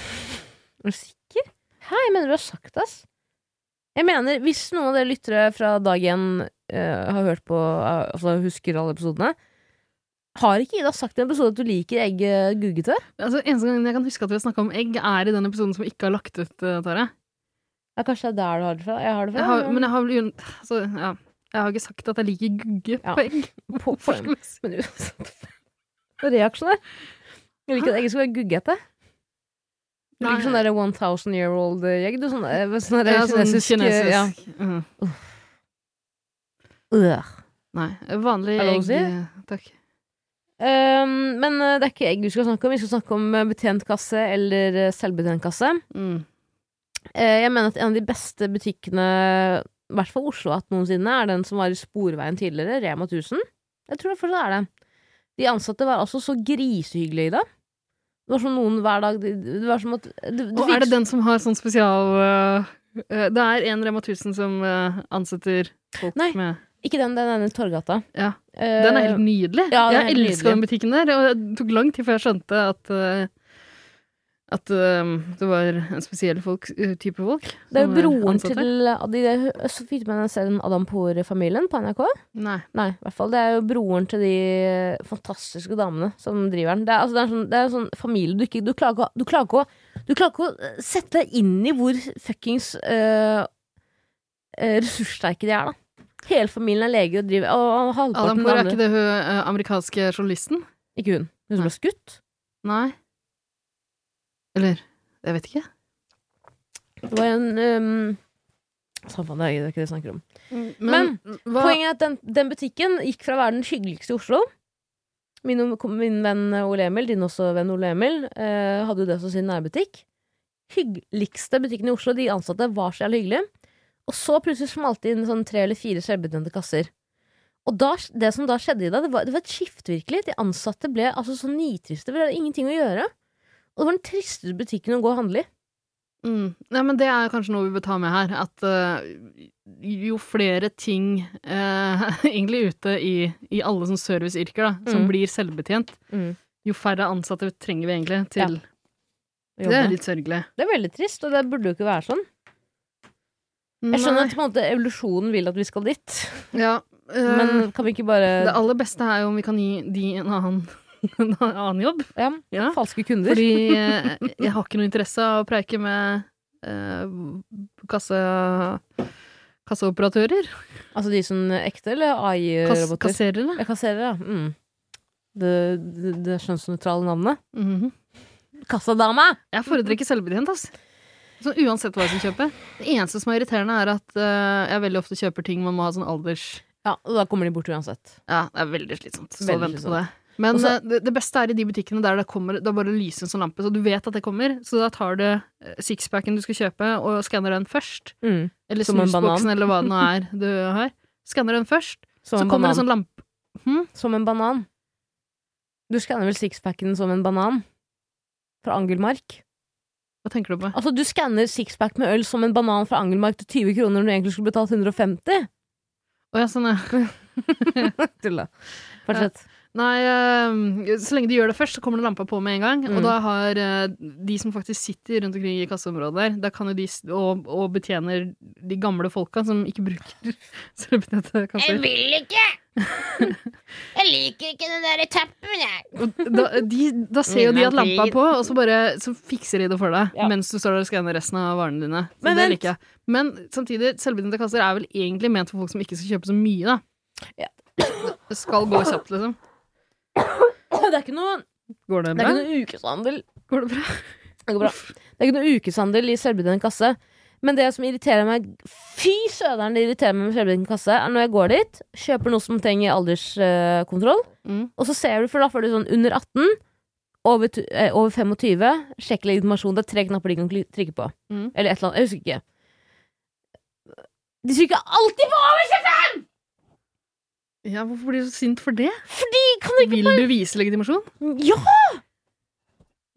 Er du sikker? Hæ, jeg mener du har sagt det, ass. Jeg mener, hvis noen av dere eh, lyttere fra dag én øh, har hørt på, øh, altså husker alle episodene, Har ikke Ida sagt i en episode at du liker egg eh, guggete? Altså, Eneste gangen jeg kan huske at vi har snakka om egg, er i den episoden som vi ikke har lagt ut. eh, Tara. Ja, kanskje det er der du har det fra? Jeg har det fra. Jeg har, men jeg har, vel un- altså, ja, jeg har ikke sagt at jeg liker gugge Ja. på egg. på form. Forskningsmessig. Men uansett. Det er Reaksjonær. Jeg liker at egget skal være guggete. Du Nei. liker sånn der 1000 year old egg. Du, sånn eh, sånn der Ja, sånn kinesisk, eh, Ja. Mhm. Øh. Nei. Vanlig Er det lov å egg. si? eh, Takk. Um, men eh, det er ikke egg vi skal snakke om. Vi skal snakke om eh, betjent kasse eller eh, selvbetjent kasse. Mm. Eh, Jeg mener at en av de beste butikkene, i hvert fall Oslo hatt noensinne, er den som var i Sporveien tidligere, Rema 1000. Jeg tror det fortsatt er det. De ansatte var altså så grisehyggelige i dag. Det var som noen hver dag Det det var som at det, det Og er det den som har sånn spesial øh, øh, Det er en Rema 1000 som øh, ansetter folk Nei. med Ikke den, den ene i Torgata. Eh, Ja. Den er helt nydelig. ja, den er jeg helt elska nydelig. den butikken der. Og det tok lang tid før jeg skjønte at øh, at øh, det var en spesiell folk, øh, type folk. Det er jo som broren ansatte. til eh, de, Så fikk du med den serien Adam Poor-familien på NRK? Nei. Nei, i hvert fall. Det er jo broren til de eh, fantastiske damene som driver den. Det er, altså, det er, sånn, det er en sånn familie du ikke Du klarer ikke, å- du klarer ikke, å, du klarer ikke å eh, sette deg inn i hvor fuckings øh, øh, ressurssterke de er, da. Hele familien er leger og driver Og og Adam halvparten Poor av er andre ikke det hun øh, amerikanske journalisten? Ikke hun. Hun som Nei. ble skutt. Nei. Eller Jeg vet ikke. Det var en øhm, Samme faen, det er ikke det jeg snakker om. Men, hva Poenget er at den, den butikken gikk fra å være den hyggeligste i Oslo Min, min venn Ole Emil, din også venn Ole Emil, eh, hadde jo det som sin nærbutikk. Hyggeligste butikken i Oslo, de ansatte var så jævlig hyggelige. Og så plutselig smalt det inn sånn tre eller fire selvbetjente kasser. Og da, det som da skjedde i dag, det var, det var et skifte virkelig. De ansatte ble altså så nitriste, for det var ingenting å gjøre. Og det var den tristeste butikken å gå og handle i. Mm. Nei, men det er kanskje noe vi bør ta med her, at eh, jo flere ting eh, [LAUGHS] egentlig ute i, i alle sånne serviceyrker da, som Mm. blir selvbetjent, Mm. jo færre ansatte trenger vi egentlig til. å Det jobbe. er litt sørgelig. det er veldig trist, og det burde jo ikke være sånn. Jeg skjønner at på en måte, evolusjonen vil at vi skal dit. Nei, ja, eh, Men eh, kan vi ikke bare det aller beste er jo om vi kan gi de en annen, [LAUGHS] en annen jobb. ja, Ja. Falske kunder. Fordi eh, jeg har ikke noe interesse av å preike med eh, kasse, kasseoperatører. altså de som er ekte eller Kass, AI-roboter? kasserere. Ja, kasserere, ja. Mm. Det, det, det skjønnsnøytrale navnet. Mhm. Kassadame! Jeg foretrekker selvbetjent, ass. Så uansett hva jeg skal kjøpe. Det eneste som er irriterende, er at eh, jeg veldig ofte kjøper ting man må ha sånn alders... Ja, og da kommer de bort uansett. Ja, det er veldig slitsomt. Stå og Veldig vente på det. Men Og så- eh, det, det beste er i de butikkene der det kommer, da bare lyser en sånn lampe, så du vet at det kommer. Så da tar du eh, sixpacken du skal kjøpe, og skanner den først. Mm. Eller Som en snusboksen, banan. eller hva det nå er du har. Skanner den først, Som, så en kommer banan. det sånn lampe. som en banan. Du skanner vel sixpacken som en banan? Fra Angelmark? Hva tenker du på? Altså, du skanner sixpack med øl som en banan fra Angelmark til 20 kroner når du egentlig skulle betalt 150? Å ja, sånn, ja. [LAUGHS] Tulla. Fortsett. Nei, eh, så lenge de gjør det først, så kommer det lampa på med en gang. Mm. Og da har eh, de som faktisk sitter rundt omkring i kasseområdet der, da kan jo de s- og, og betjener de gamle folka som ikke bruker [LAUGHS] selvbetjente kasser. vil ikke! Jeg liker ikke den der tappen, jeg. Og da, de, da ser jo de at lampa er på, og så bare så fikser de det for deg Ja. mens du står der og skanner resten av varene dine. Så Men det vent. liker jeg. Men samtidig, selvbetjente kasser er vel egentlig ment for folk som ikke skal kjøpe så mye, da. Ja. Det skal gå kjapt, liksom. Det er ikke noe, Går det det er bra? ikke noe ukeshandel. Går det bra? Det går bra. Det er ikke noe ukeshandel i selvbetjent kasse. Men det som irriterer meg Fy søderen, det irriterer meg med selvbetjent kasse, er når jeg går dit, kjøper noe som trenger alderskontroll, Mm. og så ser du, for da får du sånn under 18, over, tu- eh, over 25, sjekk legitimasjon, det er tre knapper de kan kli- trykke på. Mm. Eller et eller annet. Jeg husker ikke. De trykker alltid på! Ja, hvorfor blir du så sint for det? Kan dere Vil du vise legitimasjon? ikke Ja!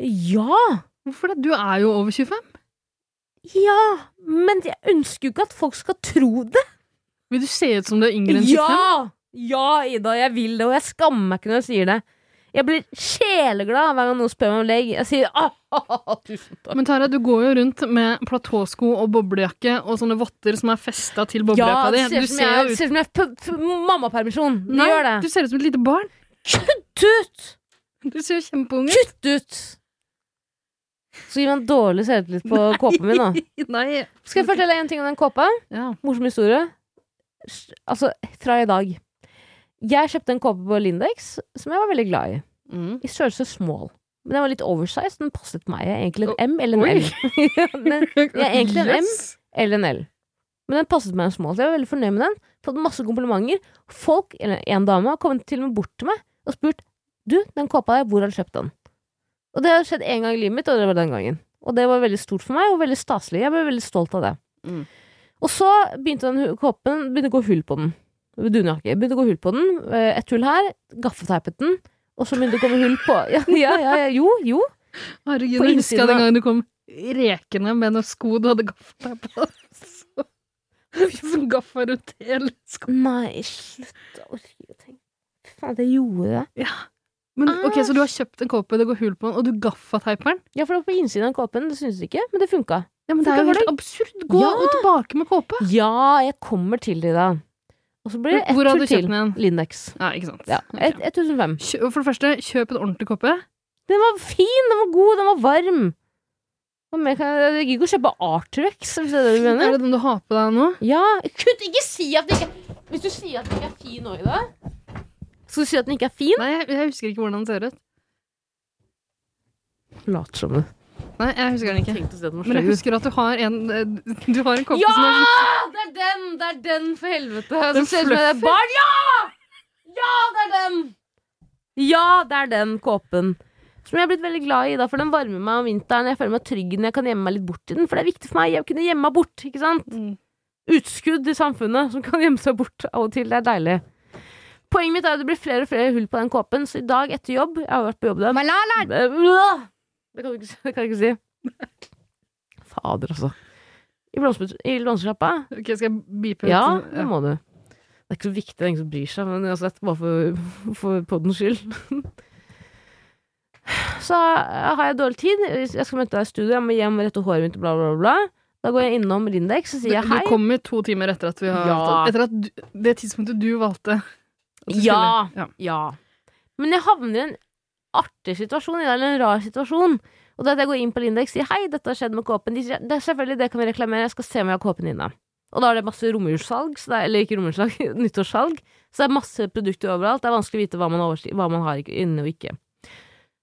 Ja! Hvorfor det? Du er jo over 25. Ja! Men jeg ønsker jo ikke at folk skal tro det. Vil du se ut som du er yngre enn 25? Ja! Ja, Ida, jeg vil det, og jeg skammer meg ikke når jeg sier det. Jeg blir sjeleglad hver gang noen spør meg om legg. Jeg sier ah, ah, ah, ah, tusen takk. Men Tara, du går jo rundt med platåsko og boblejakke og sånne votter som er festa til Ja, boblejakka det ser di. Du ut som jeg ser jo det ut ser ut som jeg har p- p- mammapermisjon. Det Nei, gjør det. Du ser ut som et lite barn. Kutt ut! Du ser jo kjempeung ut. Kutt ut! Så gir meg en dårlig selvtillit [LAUGHS] på kåpen min, da. [LAUGHS] Nei. Skal jeg fortelle en ting om den kåpa? Ja. Morsom historie. S- Altså, fra i dag. Jeg kjøpte en kåpe på Lindex som jeg var veldig glad i. Mm. I størrelse small. Men den var litt oversized. Den passet meg. Jeg er egentlig en M eller Oi. en L. [LAUGHS] Ja, den, jeg er egentlig en M eller en L. Men den passet meg en small. Så jeg var veldig fornøyd med den. Fått masse komplimenter. Folk, eller en dame, har kommet til og med bort til meg og spurt Du, den kåpa der, hvor har du kjøpt den? Og det har skjedd én gang i livet mitt, og det var den gangen. Og det var veldig stort for meg, og veldig staselig. Jeg ble veldig stolt av det. Mm. Og så begynte den hu- kåpen begynte å gå hull på den. Dunjakke. Begynte å gå hull på den. Eh, Et hull her. Gaffelteipet den. Og så begynte det å komme hull på [LAUGHS] ja, ja, ja, ja, Jo, jo. Herregud, På jeg innsiden husker den av- gangen du kom rekende med noen sko du hadde gaffa deg på. [LAUGHS] Så- Som gaffa rundt hele skoen. Nei, slutt. Jeg orker ikke å tenke. Fy Faen, at jeg gjorde det. Men Ah. ok, Så du har kjøpt en kåpe, det går hull på den, og du gaffateiper den? Ja, for det var på innsiden av kåpen, det syntes ikke, men det funka. Ja, men det er jo Funker helt det? absurd! Gå Ja. og tilbake med kåpe! Ja, jeg kommer til det i dag. Og så blir det ett Hvor hadde hull du kjøpt til. den igjen? Lindex. Ja, ikke sant. Sånn, Ja, Ok. et- 1005. Kjø- For det første, kjøp en ordentlig kåpe. Den var fin, den var god, den var varm. Hva mer kan jeg Jeg gidder ikke å kjøpe Artrex, hvis det er det du Er mener. det den du har på deg nå? Ja, kutt! Ikke si at den ikke Hvis du sier at den ikke er fin nå i dag Skal du si at den ikke er fin? Nei, jeg, jeg husker ikke hvordan den ser ut. Lat som det. Nei, jeg husker den ikke. Tenkte å si at den var Men jeg stygg. husker at du har en eh, Du har en kåpe Ja! som er sånn- Ja, Det er den! Det er den, for helvete! Som Den ser ut som et fluffer. barn! Ja! Ja, det er den! Ja, det er den kåpen. Som jeg er blitt veldig glad i, da, for den varmer meg om vinteren. Jeg føler meg trygg når jeg kan gjemme meg litt bort i den, for det er viktig for meg å kunne gjemme meg bort. ikke sant? Mm. Utskudd i samfunnet som kan [LAUGHS] gjemme seg bort av og til. Det er deilig. Poenget mitt er at det blir flere og flere hull på den kåpen, så i dag etter jobb Jeg har vært på jobb i dag. Eh, øh, Det kan du ikke [LAUGHS] si. Det kan jeg ikke si. Fader, altså. I blomster- I blomstersjappa Ok, skal jeg beepe ut? ja, det må du. Det er ikke så viktig, det er ingen som bryr seg, men uansett, bare for, [LAUGHS] for poddens skyld. [LAUGHS] Så eh, har jeg dårlig tid, jeg skal møte deg i studio, jeg må hjem og rette håret mitt, bla, bla, bla. Da går jeg innom Lindex og Du, sier jeg du hei. kommer to timer etter at vi har Ja. Etter at du, det tidspunktet du valgte. at du Ja. skulle- ja. Ja. Men jeg havner i en artig situasjon, i dag, eller en rar situasjon. Og det er at jeg går inn på Lindex og sier hei, dette har skjedd med kåpen. De sier det er selvfølgelig det kan vi reklamere, jeg skal se om jeg har kåpen inne. Og da er det masse romjulssalg, så det er- eller ikke romjulssalg, [LAUGHS] nyttårssalg. Så det er masse produkter overalt. Det er vanskelig å vite hva man, oversti- hva man har ikke- inne og ikke.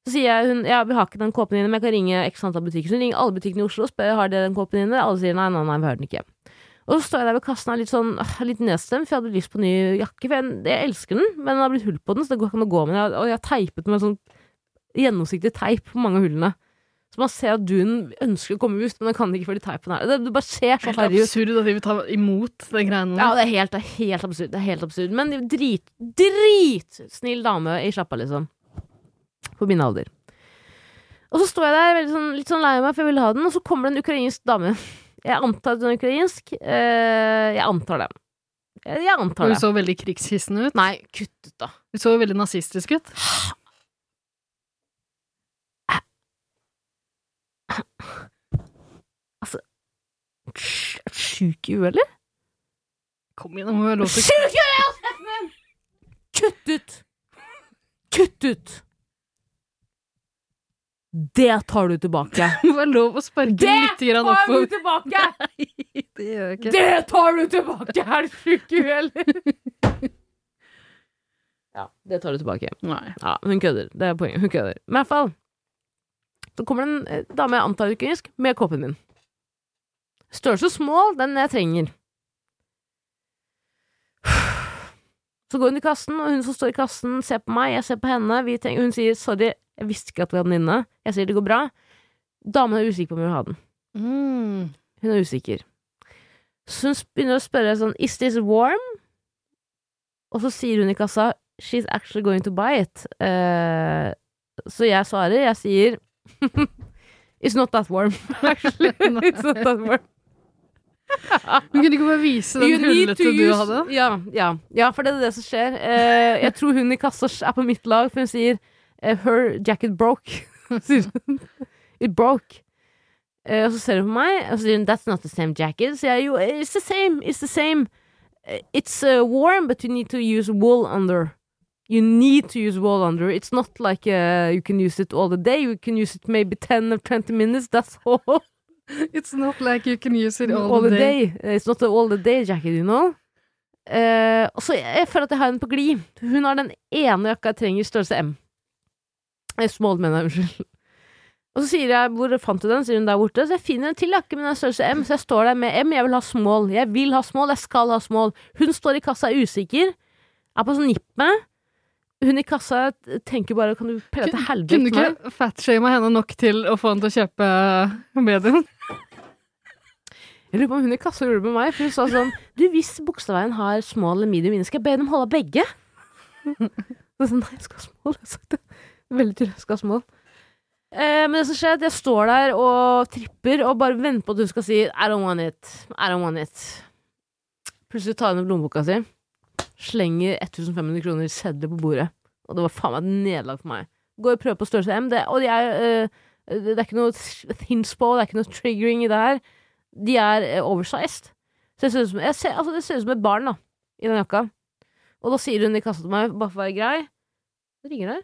Så sier jeg hun, ja, vi har ikke den kåpen inne, men jeg kan ringe x antall butikker. Så hun ringer alle butikkene i Oslo og spør har dere den kåpen inne. Alle sier nei, nei, nei, vi har den ikke. Og så står jeg der ved kassen og er litt, sånn, øh, litt nedstemt, for jeg hadde lyst på ny jakke. For jeg, jeg elsker den, men den har blitt hull på den, så det går ikke an å gå med den. Jeg- Og jeg har teipet med sånn gjennomsiktig teip på mange av hullene. Så man ser at duen ønsker å komme ut, men den kan ikke fordi teipen er der. Det, det bare ser så Helt harry ut. absurd at de vil ta imot de greiene Ja, det er helt, det er helt absurd. Det er helt absurd. Men drit, dritsnill dame i sjappa, liksom. På min alder. Og så står jeg der veldig sånn, litt sånn lei meg, for jeg ville ha den, og så kommer det en ukrainsk dame. Jeg antar at hun er ukrainsk. Eh, jeg antar det. Jeg jeg Og antar hun det. så veldig krigshissen ut. Nei, kutt ut, da. Hun så veldig nazistisk ut. Er du Sjuk i huet, eller? Kom igjen, nå må vi ha lov til Sjuk i huet! Steffen min! Kutt ut! Kutt ut! Det tar du tilbake. Det må være lov å sparke litt grann oppover. tilbake! [LAUGHS] Det gjør jeg ikke. Det tar du tilbake! Er du sjuk i huet, eller? [LAUGHS] ja, det tar du tilbake. Nei. Ja, hun kødder. Det er poenget. Hun kødder. Men i hvert fall Så kommer det en eh, dame jeg antar er ukrainsk, med kåpen min. Størrelse small, den jeg trenger. [SIGHS] Så går hun i kassen, og hun som står i kassen, ser på meg, jeg ser på henne. Vi tenker, hun sier 'sorry, jeg visste ikke at vi hadde den inne'. Jeg sier 'det går bra'. Damen er usikker på om hun vil ha den. Mm. Hun er usikker. Så hun sp- begynner å spørre sånn Is this warm? Og så sier hun i kassa She's actually going to buy it. Eh, så jeg svarer, jeg sier [LAUGHS] It's not that warm, [LAUGHS] actually. It's not that warm. Hun kunne ikke bare vise den hullete du hadde. Ja, ja, ja, for det er det som skjer. Eh, jeg tror hun i kassa er på mitt lag, for hun sier eh, Her jacket broke. [LAUGHS] sier hun. It broke. Eh, og så ser hun på meg, og så sier hun That's not the same jacket. Så jeg jo It's the same. It's the same. Eh, It's eh, warm, but you need to use wool under. You need to use wall under. It's not like uh, you can use it all the day. You can use it maybe 10 or 20 minutes. That's [LAUGHS] all. It's not like you can use it all, the day. It's not the all the day jacket, you know. Eh, og så jeg, jeg føler at jeg har henne på glid. Hun har den ene jakka jeg trenger i størrelse M. Eh, Small, mener jeg. Unnskyld. Og så sier jeg 'hvor fant du den?' sier hun der borte. Så jeg finner en til jakke, men den er størrelse M. Så jeg står der med M. Jeg vil ha small. Jeg vil ha small. Jeg skal ha small. Hun står i kassa er usikker. Er på sånn nipp med. Hun i kassa tenker bare 'kan du pelle til helvete Kunne du meg?" ikke fatshama henne nok til å få henne til å kjøpe medium? Jeg lurer på om hun i kassa gjorde det med meg, for hun sa sånn Du, hvis Bogstadveien har small eller medium inne, skal jeg be dem holde av begge? [LAUGHS] Så jeg sa, nei, jeg skal ha small. Jeg har sagt det. Veldig tydelig, jeg skal ha small. Eh, men det som skjer, er at jeg står der og tripper og bare venter på at hun skal si I don't want it. I don't want it. Plutselig tar hun opp lommeboka si, slenger 1500 kroner i sedler på bordet. Og det var faen meg et nederlag for meg. Går og prøver på størrelse M, det, og de er, eh, det er ikke noe thins på, det er ikke noe triggering i det her. De er eh, oversized. Så jeg ser ut som, jeg ser, altså, det ser ut som et barn da i den jakka. Og da sier hun i kassa til meg, bare for å være grei Det ringer der.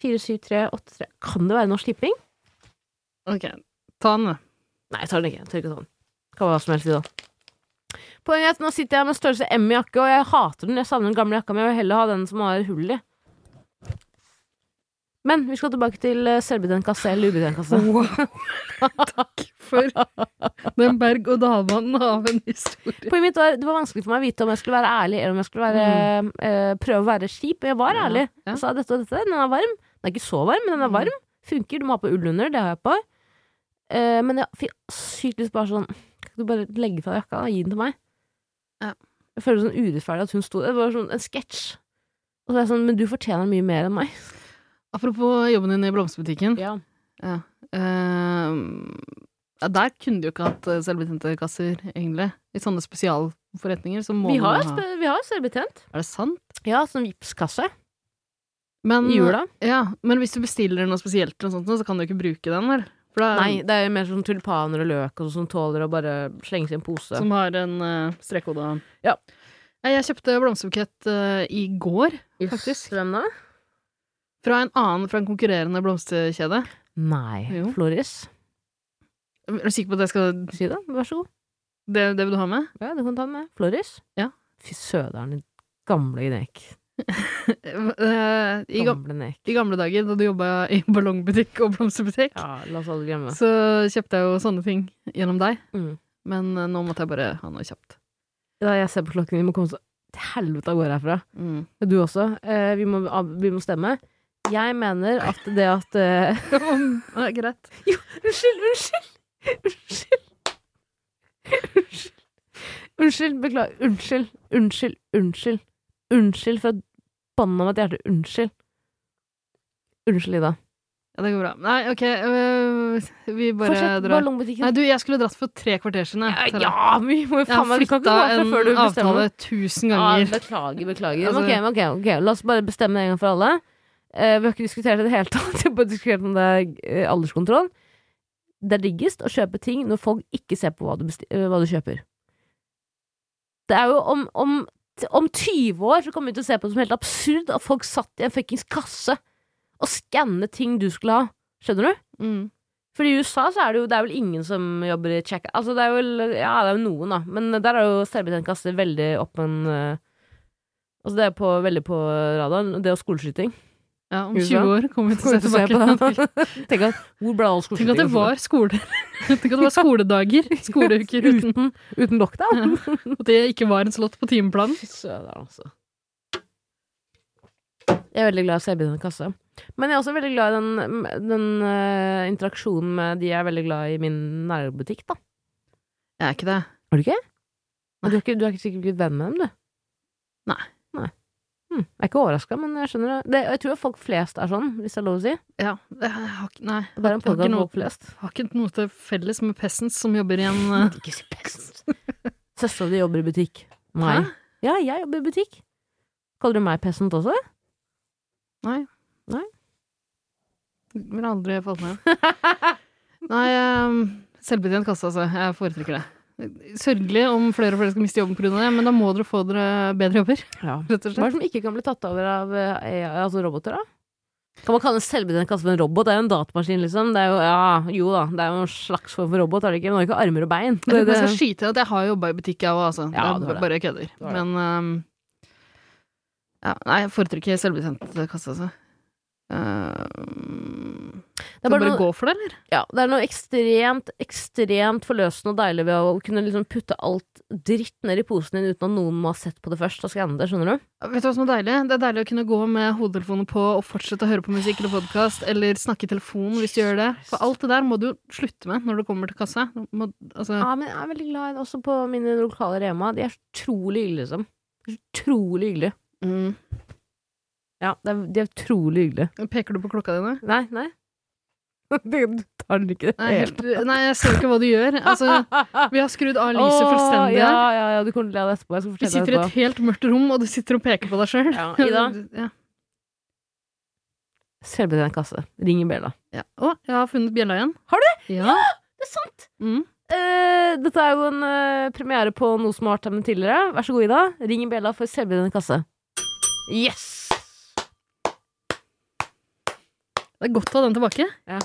47383. Kan det være Norsk Tipping? Ok, ta den, da. Nei, jeg tar den ikke. Jeg tør ikke ta den. Kan være hva som helst i dag. Poenget er at nå sitter jeg med størrelse M i jakke, og jeg hater den. Jeg savner den gamle jakka mi, og jeg vil heller ha den som har hull i. Men vi skal tilbake til eh, selvbetjent kasse eller ubetjent kasse. [LAUGHS] Takk for den berg-og-dal-banen av en historie. Poenget mitt var, Det var vanskelig for meg å vite om jeg skulle være ærlig eller om jeg skulle være, eh, prøve å være kjip. Og jeg var ærlig. ja. Jeg sa dette og dette. Den er varm. Den er ikke så varm, men den er varm. Funker. Du må ha på ull under. Det har jeg på. Eh, men jeg fikk sykt lyst bare sånn Kan ikke du bare legge fra deg jakka og gi den til meg? Ja. Jeg føler sånn urettferdig at hun sto Det var sånn en sketsj. Og så er jeg sånn Men du fortjener mye mer enn meg. Apropos jobben din i blomsterbutikken. [LAUGHS] Ja. Ehm, ja, der kunne du jo ikke hatt eh, selvbetjente kasser, egentlig. I sånne spesialforretninger så må Vi man har, ha sp- vi har selvbetjent. Er det sant? Ja, sånn Vipps-kasse Men, i jula. Ja, men hvis du bestiller noe spesielt, og sånt, nå, så kan du ikke bruke den, vel? For det er Nei, det er mer sånn tulipaner og løk og sånn som tåler å bare slenges i en pose. som har en uh, strekkode. Ja. Ja, Jeg kjøpte blomsterbukett eh, i går, faktisk. Hvem da? Fra en annen fra en konkurrerende blomsterkjede. Nei. Jo. Floris. Er du sikker på at jeg skal Si det. Vær så god. Det, det vil du ha med? [LAUGHS] Ja, du kan ta den med. Floris. Ja. Fy søderen, din gamle gnek. Eh, I, gam Gamle gnek. I gamle dager, da du jobba i ballongbutikk og blomsterbutikk, Ja, la oss aldri glemme. så kjøpte jeg jo sånne ting gjennom deg. Mm. Men eh, nå måtte jeg bare ha noe kjapt. Ja, jeg ser på klokken, vi må komme så til helvete av gårde herfra. Mm. Du også. Eh, vi, må, av- vi må stemme. Jeg mener at det at eh, [LAUGHS] Ja, greit. Unnskyld, unnskyld! Unnskyld. Unnskyld. Unnskyld, beklager. Unnskyld, unnskyld, unnskyld. Unnskyld fra bånden av mitt hjerte. Unnskyld. Unnskyld, Ida. Ja, det går bra. Nei, OK, eh, vi bare Fortsett drar. Nei, ballongbutikken. du, jeg skulle dratt for tre kvarter siden. jeg, Ja, Tara. ja, vi må jo Jeg faen har meg Vi kan ikke flytta gå herfra en før du bestemmer avtale det. tusen Ja, ganger. beklager, beklager. Altså- Ok, men ok, ok, La oss bare bestemme det en gang for alle. Eh, vi har ikke diskutert det i det hele tatt. [LAUGHS] Vi har bare diskutert om det er eh, alderskontroll. Det er diggest å kjøpe ting når folk ikke ser på hva du, besti eh, hva du kjøper. Det er jo om, om, om 20 år så kommer vi til å se på det som helt absurd at folk satt i en fuckings kasse og skannet ting du skulle ha. Skjønner du? Mm. For i USA så er det jo Det er vel ingen som jobber i check Altså det er vel Ja, det er jo noen da Men der er jo selvbetjent kasse veldig opp en eh, Altså det er på, veldig på radaren Det og skoleskyting Ja, om Husker du 20 år kommer vi til å [LAUGHS] se Kommer [LAUGHS] vi til å se tilbake. på det. Tenk at Hvor ble all [LAUGHS] Tenk skoleskyting? altså. at det var skoler. [LAUGHS] Tenk at det [LAUGHS] var skoledager, skoleuker uten Uten, uten lockdown at det ikke var en slott på timeplanen. Fy søren altså Jeg er veldig glad i å se i den kasse Men jeg er også veldig glad i den, den eh, interaksjonen med De jeg er veldig glad i i min nærbutikk da Jeg er ikke det. Er du ikke? Men Du har ikke, du har ikke sikkert blitt venn med dem, du? Nei. Nei. Hm, Jeg er ikke overraska, men jeg skjønner det. det. Jeg tror folk flest er sånn, hvis det er lov å si. Ja, jeg har ikke, nei, Det er en Jeg har ikke podcast om noe- folk flest. har ikke noe til felles med Pessens som jobber i en eh, Ikke si pest. [LAUGHS] Søstera di jobber i butikk. Nei. Hæ? Ja, jeg jobber i butikk. Kaller du meg peasant også? [LAUGHS] ehm, Ville aldri falt ned. Nei, eh, selvbetjent kasse, altså. Jeg foretrekker det. Sørgelig om flere og flere skal miste jobben pga. det, men da må dere få dere bedre jobber, [LAUGHS] Ja. rett Hva er og slett. det som ikke kan bli tatt over av eh, AI, altså roboter, da? Kan man kalle en selvbetjent kasse for en robot? Det er jo en datamaskin, liksom. Det er jo, ja, jo da, det er jo en slags form for robot, er det ikke? Men den har ikke armer og bein. Jeg, Det, tror ikke jeg skal det, skyte inn at jeg har jobba i butikk, jeg òg, altså. Ja, det det er var ba- det. bare jeg kødder. var det. Men ehm, ja, Nei, jeg foretrekker selvbetjent kasse, altså. Ehm, det er skal vi bare bare noe, gå for det, eller? ja, det er noe ekstremt, ekstremt forløsende og deilig ved å kunne liksom putte alt dritt ned i posen din uten at noen må ha sett på det først og skanne det, skjønner du? Vet du hva som er deilig? Det er deilig å kunne gå med hodetelefoner på og fortsette å høre på musikk eller podkast, eller snakke i telefonen hvis du gjør det. For alt det der må du jo slutte med når du kommer til kassa. Du Må, altså, Ja, men jeg er veldig glad i det, også på mine lokale Rema. De er så utrolig hyggelige, liksom. Utrolig hyggelige. mm. Ja, det er, de er utrolig hyggelige. Peker du på klokka dine? Nei, [LAUGHS] nei. Du tar den ikke. Nei, helt, nei, jeg ser ikke hva du gjør. Altså, [LAUGHS] vi har skrudd av lyset Åh, fullstendig Ja, her. ja, ja, du kommer til å le av det etterpå. Jeg skal Vi fortelle deg sitter i et etterpå. helt mørkt rom, og du sitter og peker på deg sjøl. Ja, Ida. [LAUGHS] Ja. Selvbetjent kasse. Ring i bjella. Ja. Å, jeg har funnet bjella igjen. Har du? Ja. Det er sant! Mm. Eh, dette er jo en eh, premiere på noe som har vært med tidligere. Vær så god, Ida. Ring i bjella for selvbetjent kasse. Yes! Det er godt å ha den tilbake. Ja.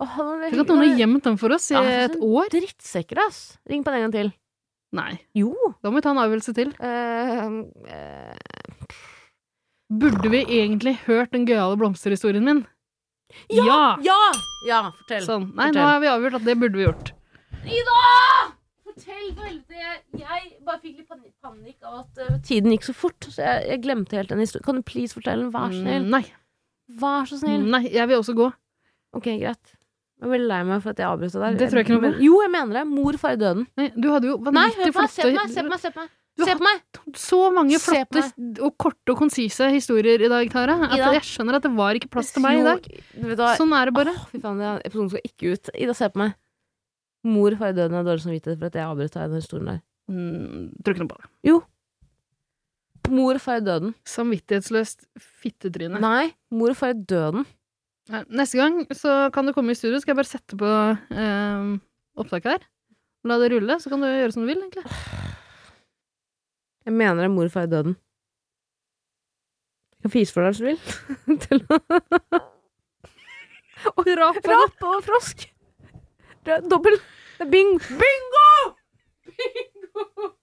Åh, nå er det Tenk at noen har gjemt den for oss i Ja, et sånn. år. Drittsekker, ass. Ring på den en gang til. Nei, Jo. da må vi ta en avgjørelse til. eh, eh, Burde vi egentlig hørt den gøyale blomsterhistorien min? Ja! ja! Ja, fortell. Sånn. Nei, Fortell. nå har vi avgjort at det burde vi gjort. Fortell for helvete. Jeg bare fikk litt panikk, panikk av at eh, tiden gikk så fort, så jeg, jeg glemte helt den historien. Kan du please fortelle den? Vær så snill. Mm, Nei. Vær så snill. Nei, jeg vil også gå. Ok, greit. Jeg er veldig lei meg for at jeg avbrøt deg der. Det tror jeg ikke noe på. Men- Jo, jeg mener det. Mor, far i døden. Nei, du hadde jo Nei, vanvittig hør på meg. Se flotte på meg, se på meg. Se på meg. Du Se på meg. Så mange Se på flotte og korte og konsise historier i dag, Tara. At Ida. jeg skjønner at det var ikke plass til meg i dag. Jo, Vet du hva? Sånn er det bare. Åh, fy faen, den episoden skal ikke ut. Ida, se på meg. Mor, far i døden er dårlig samvittighet for at jeg avbrøt deg i den historien der. Mm, tror ikke noe på det. Mor, far i døden. Samvittighetsløst fittetryne. Nei, mor og far i døden. Nei, Neste gang så kan du komme i studio, skal jeg bare sette på eh, opptaket her. La det rulle, så kan du gjøre som du vil, egentlig. Jeg mener det er mor, far i døden. Jeg kan fise for deg hvis du vil. Til å- Og rap på Rapp og frosk. Det er Dobbel. Det er Bing. Bingo! Bingo!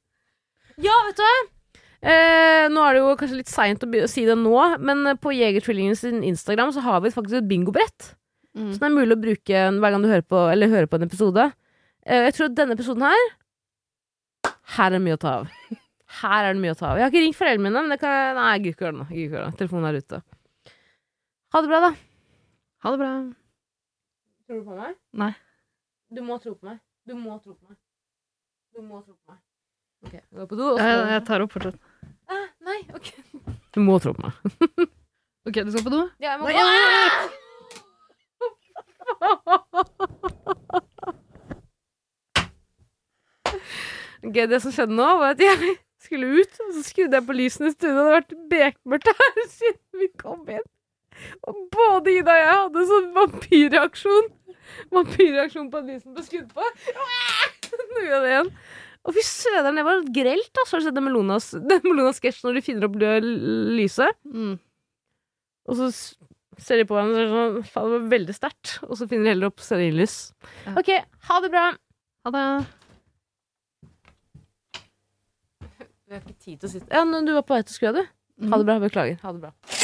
Ja, vet du hva? Eh, nå er det jo kanskje litt seint å, be- å si det nå, men eh, på Jegertvillingen sin Instagram så har vi faktisk et bingobrett. Mm. Så det er mulig å bruke en- hver gang du hører på, eller hører på en episode. Eh, jeg tror at denne episoden her Her er det mye å ta av. Her er det mye å ta av. Jeg har ikke ringt foreldrene mine, men det kan jeg Nei, jeg gidder ikke gjøre det nå. Jeg gidder ikke gjøre det. Telefonen er ute. Ha det bra, da. Ha det bra. Tror du på meg? Nei. Du må tro på meg. Du må tro på meg. Du må tro på meg. Ok, jeg går på do, og så Jeg, jeg tar opp fortsatt. ah, Nei, ok. Du må tro på meg. Ok, du skal på do? Ja, jeg må Nei, gå. Ok, det som skjedde nå, var at jeg skulle ut, og så skrudde jeg på lysene i studio. Det hadde vært bekmørkt her [LAUGHS] siden vi kom inn. Og både Ida og jeg hadde sånn vampyrreaksjon. Vampyrreaksjon på at lysene ble skrudd på. [LAUGHS] Nå gjør jeg det igjen. Og fy søderen, det var grelt, altså. Har du sett den [LAUGHS] Melonas- den Melona-sketsjen når de finner opp det l- lyset? Mm. Og så s- ser de på hverandre og så er det sånn Faen, det var veldig sterkt. Og så finner de heller opp stearinlys. Ja. OK, ha det bra. Ha det. Vi har ikke tid til å sitte Ja, men du var på vei til å skru av, du. Ha det bra. Beklager. Ha det bra.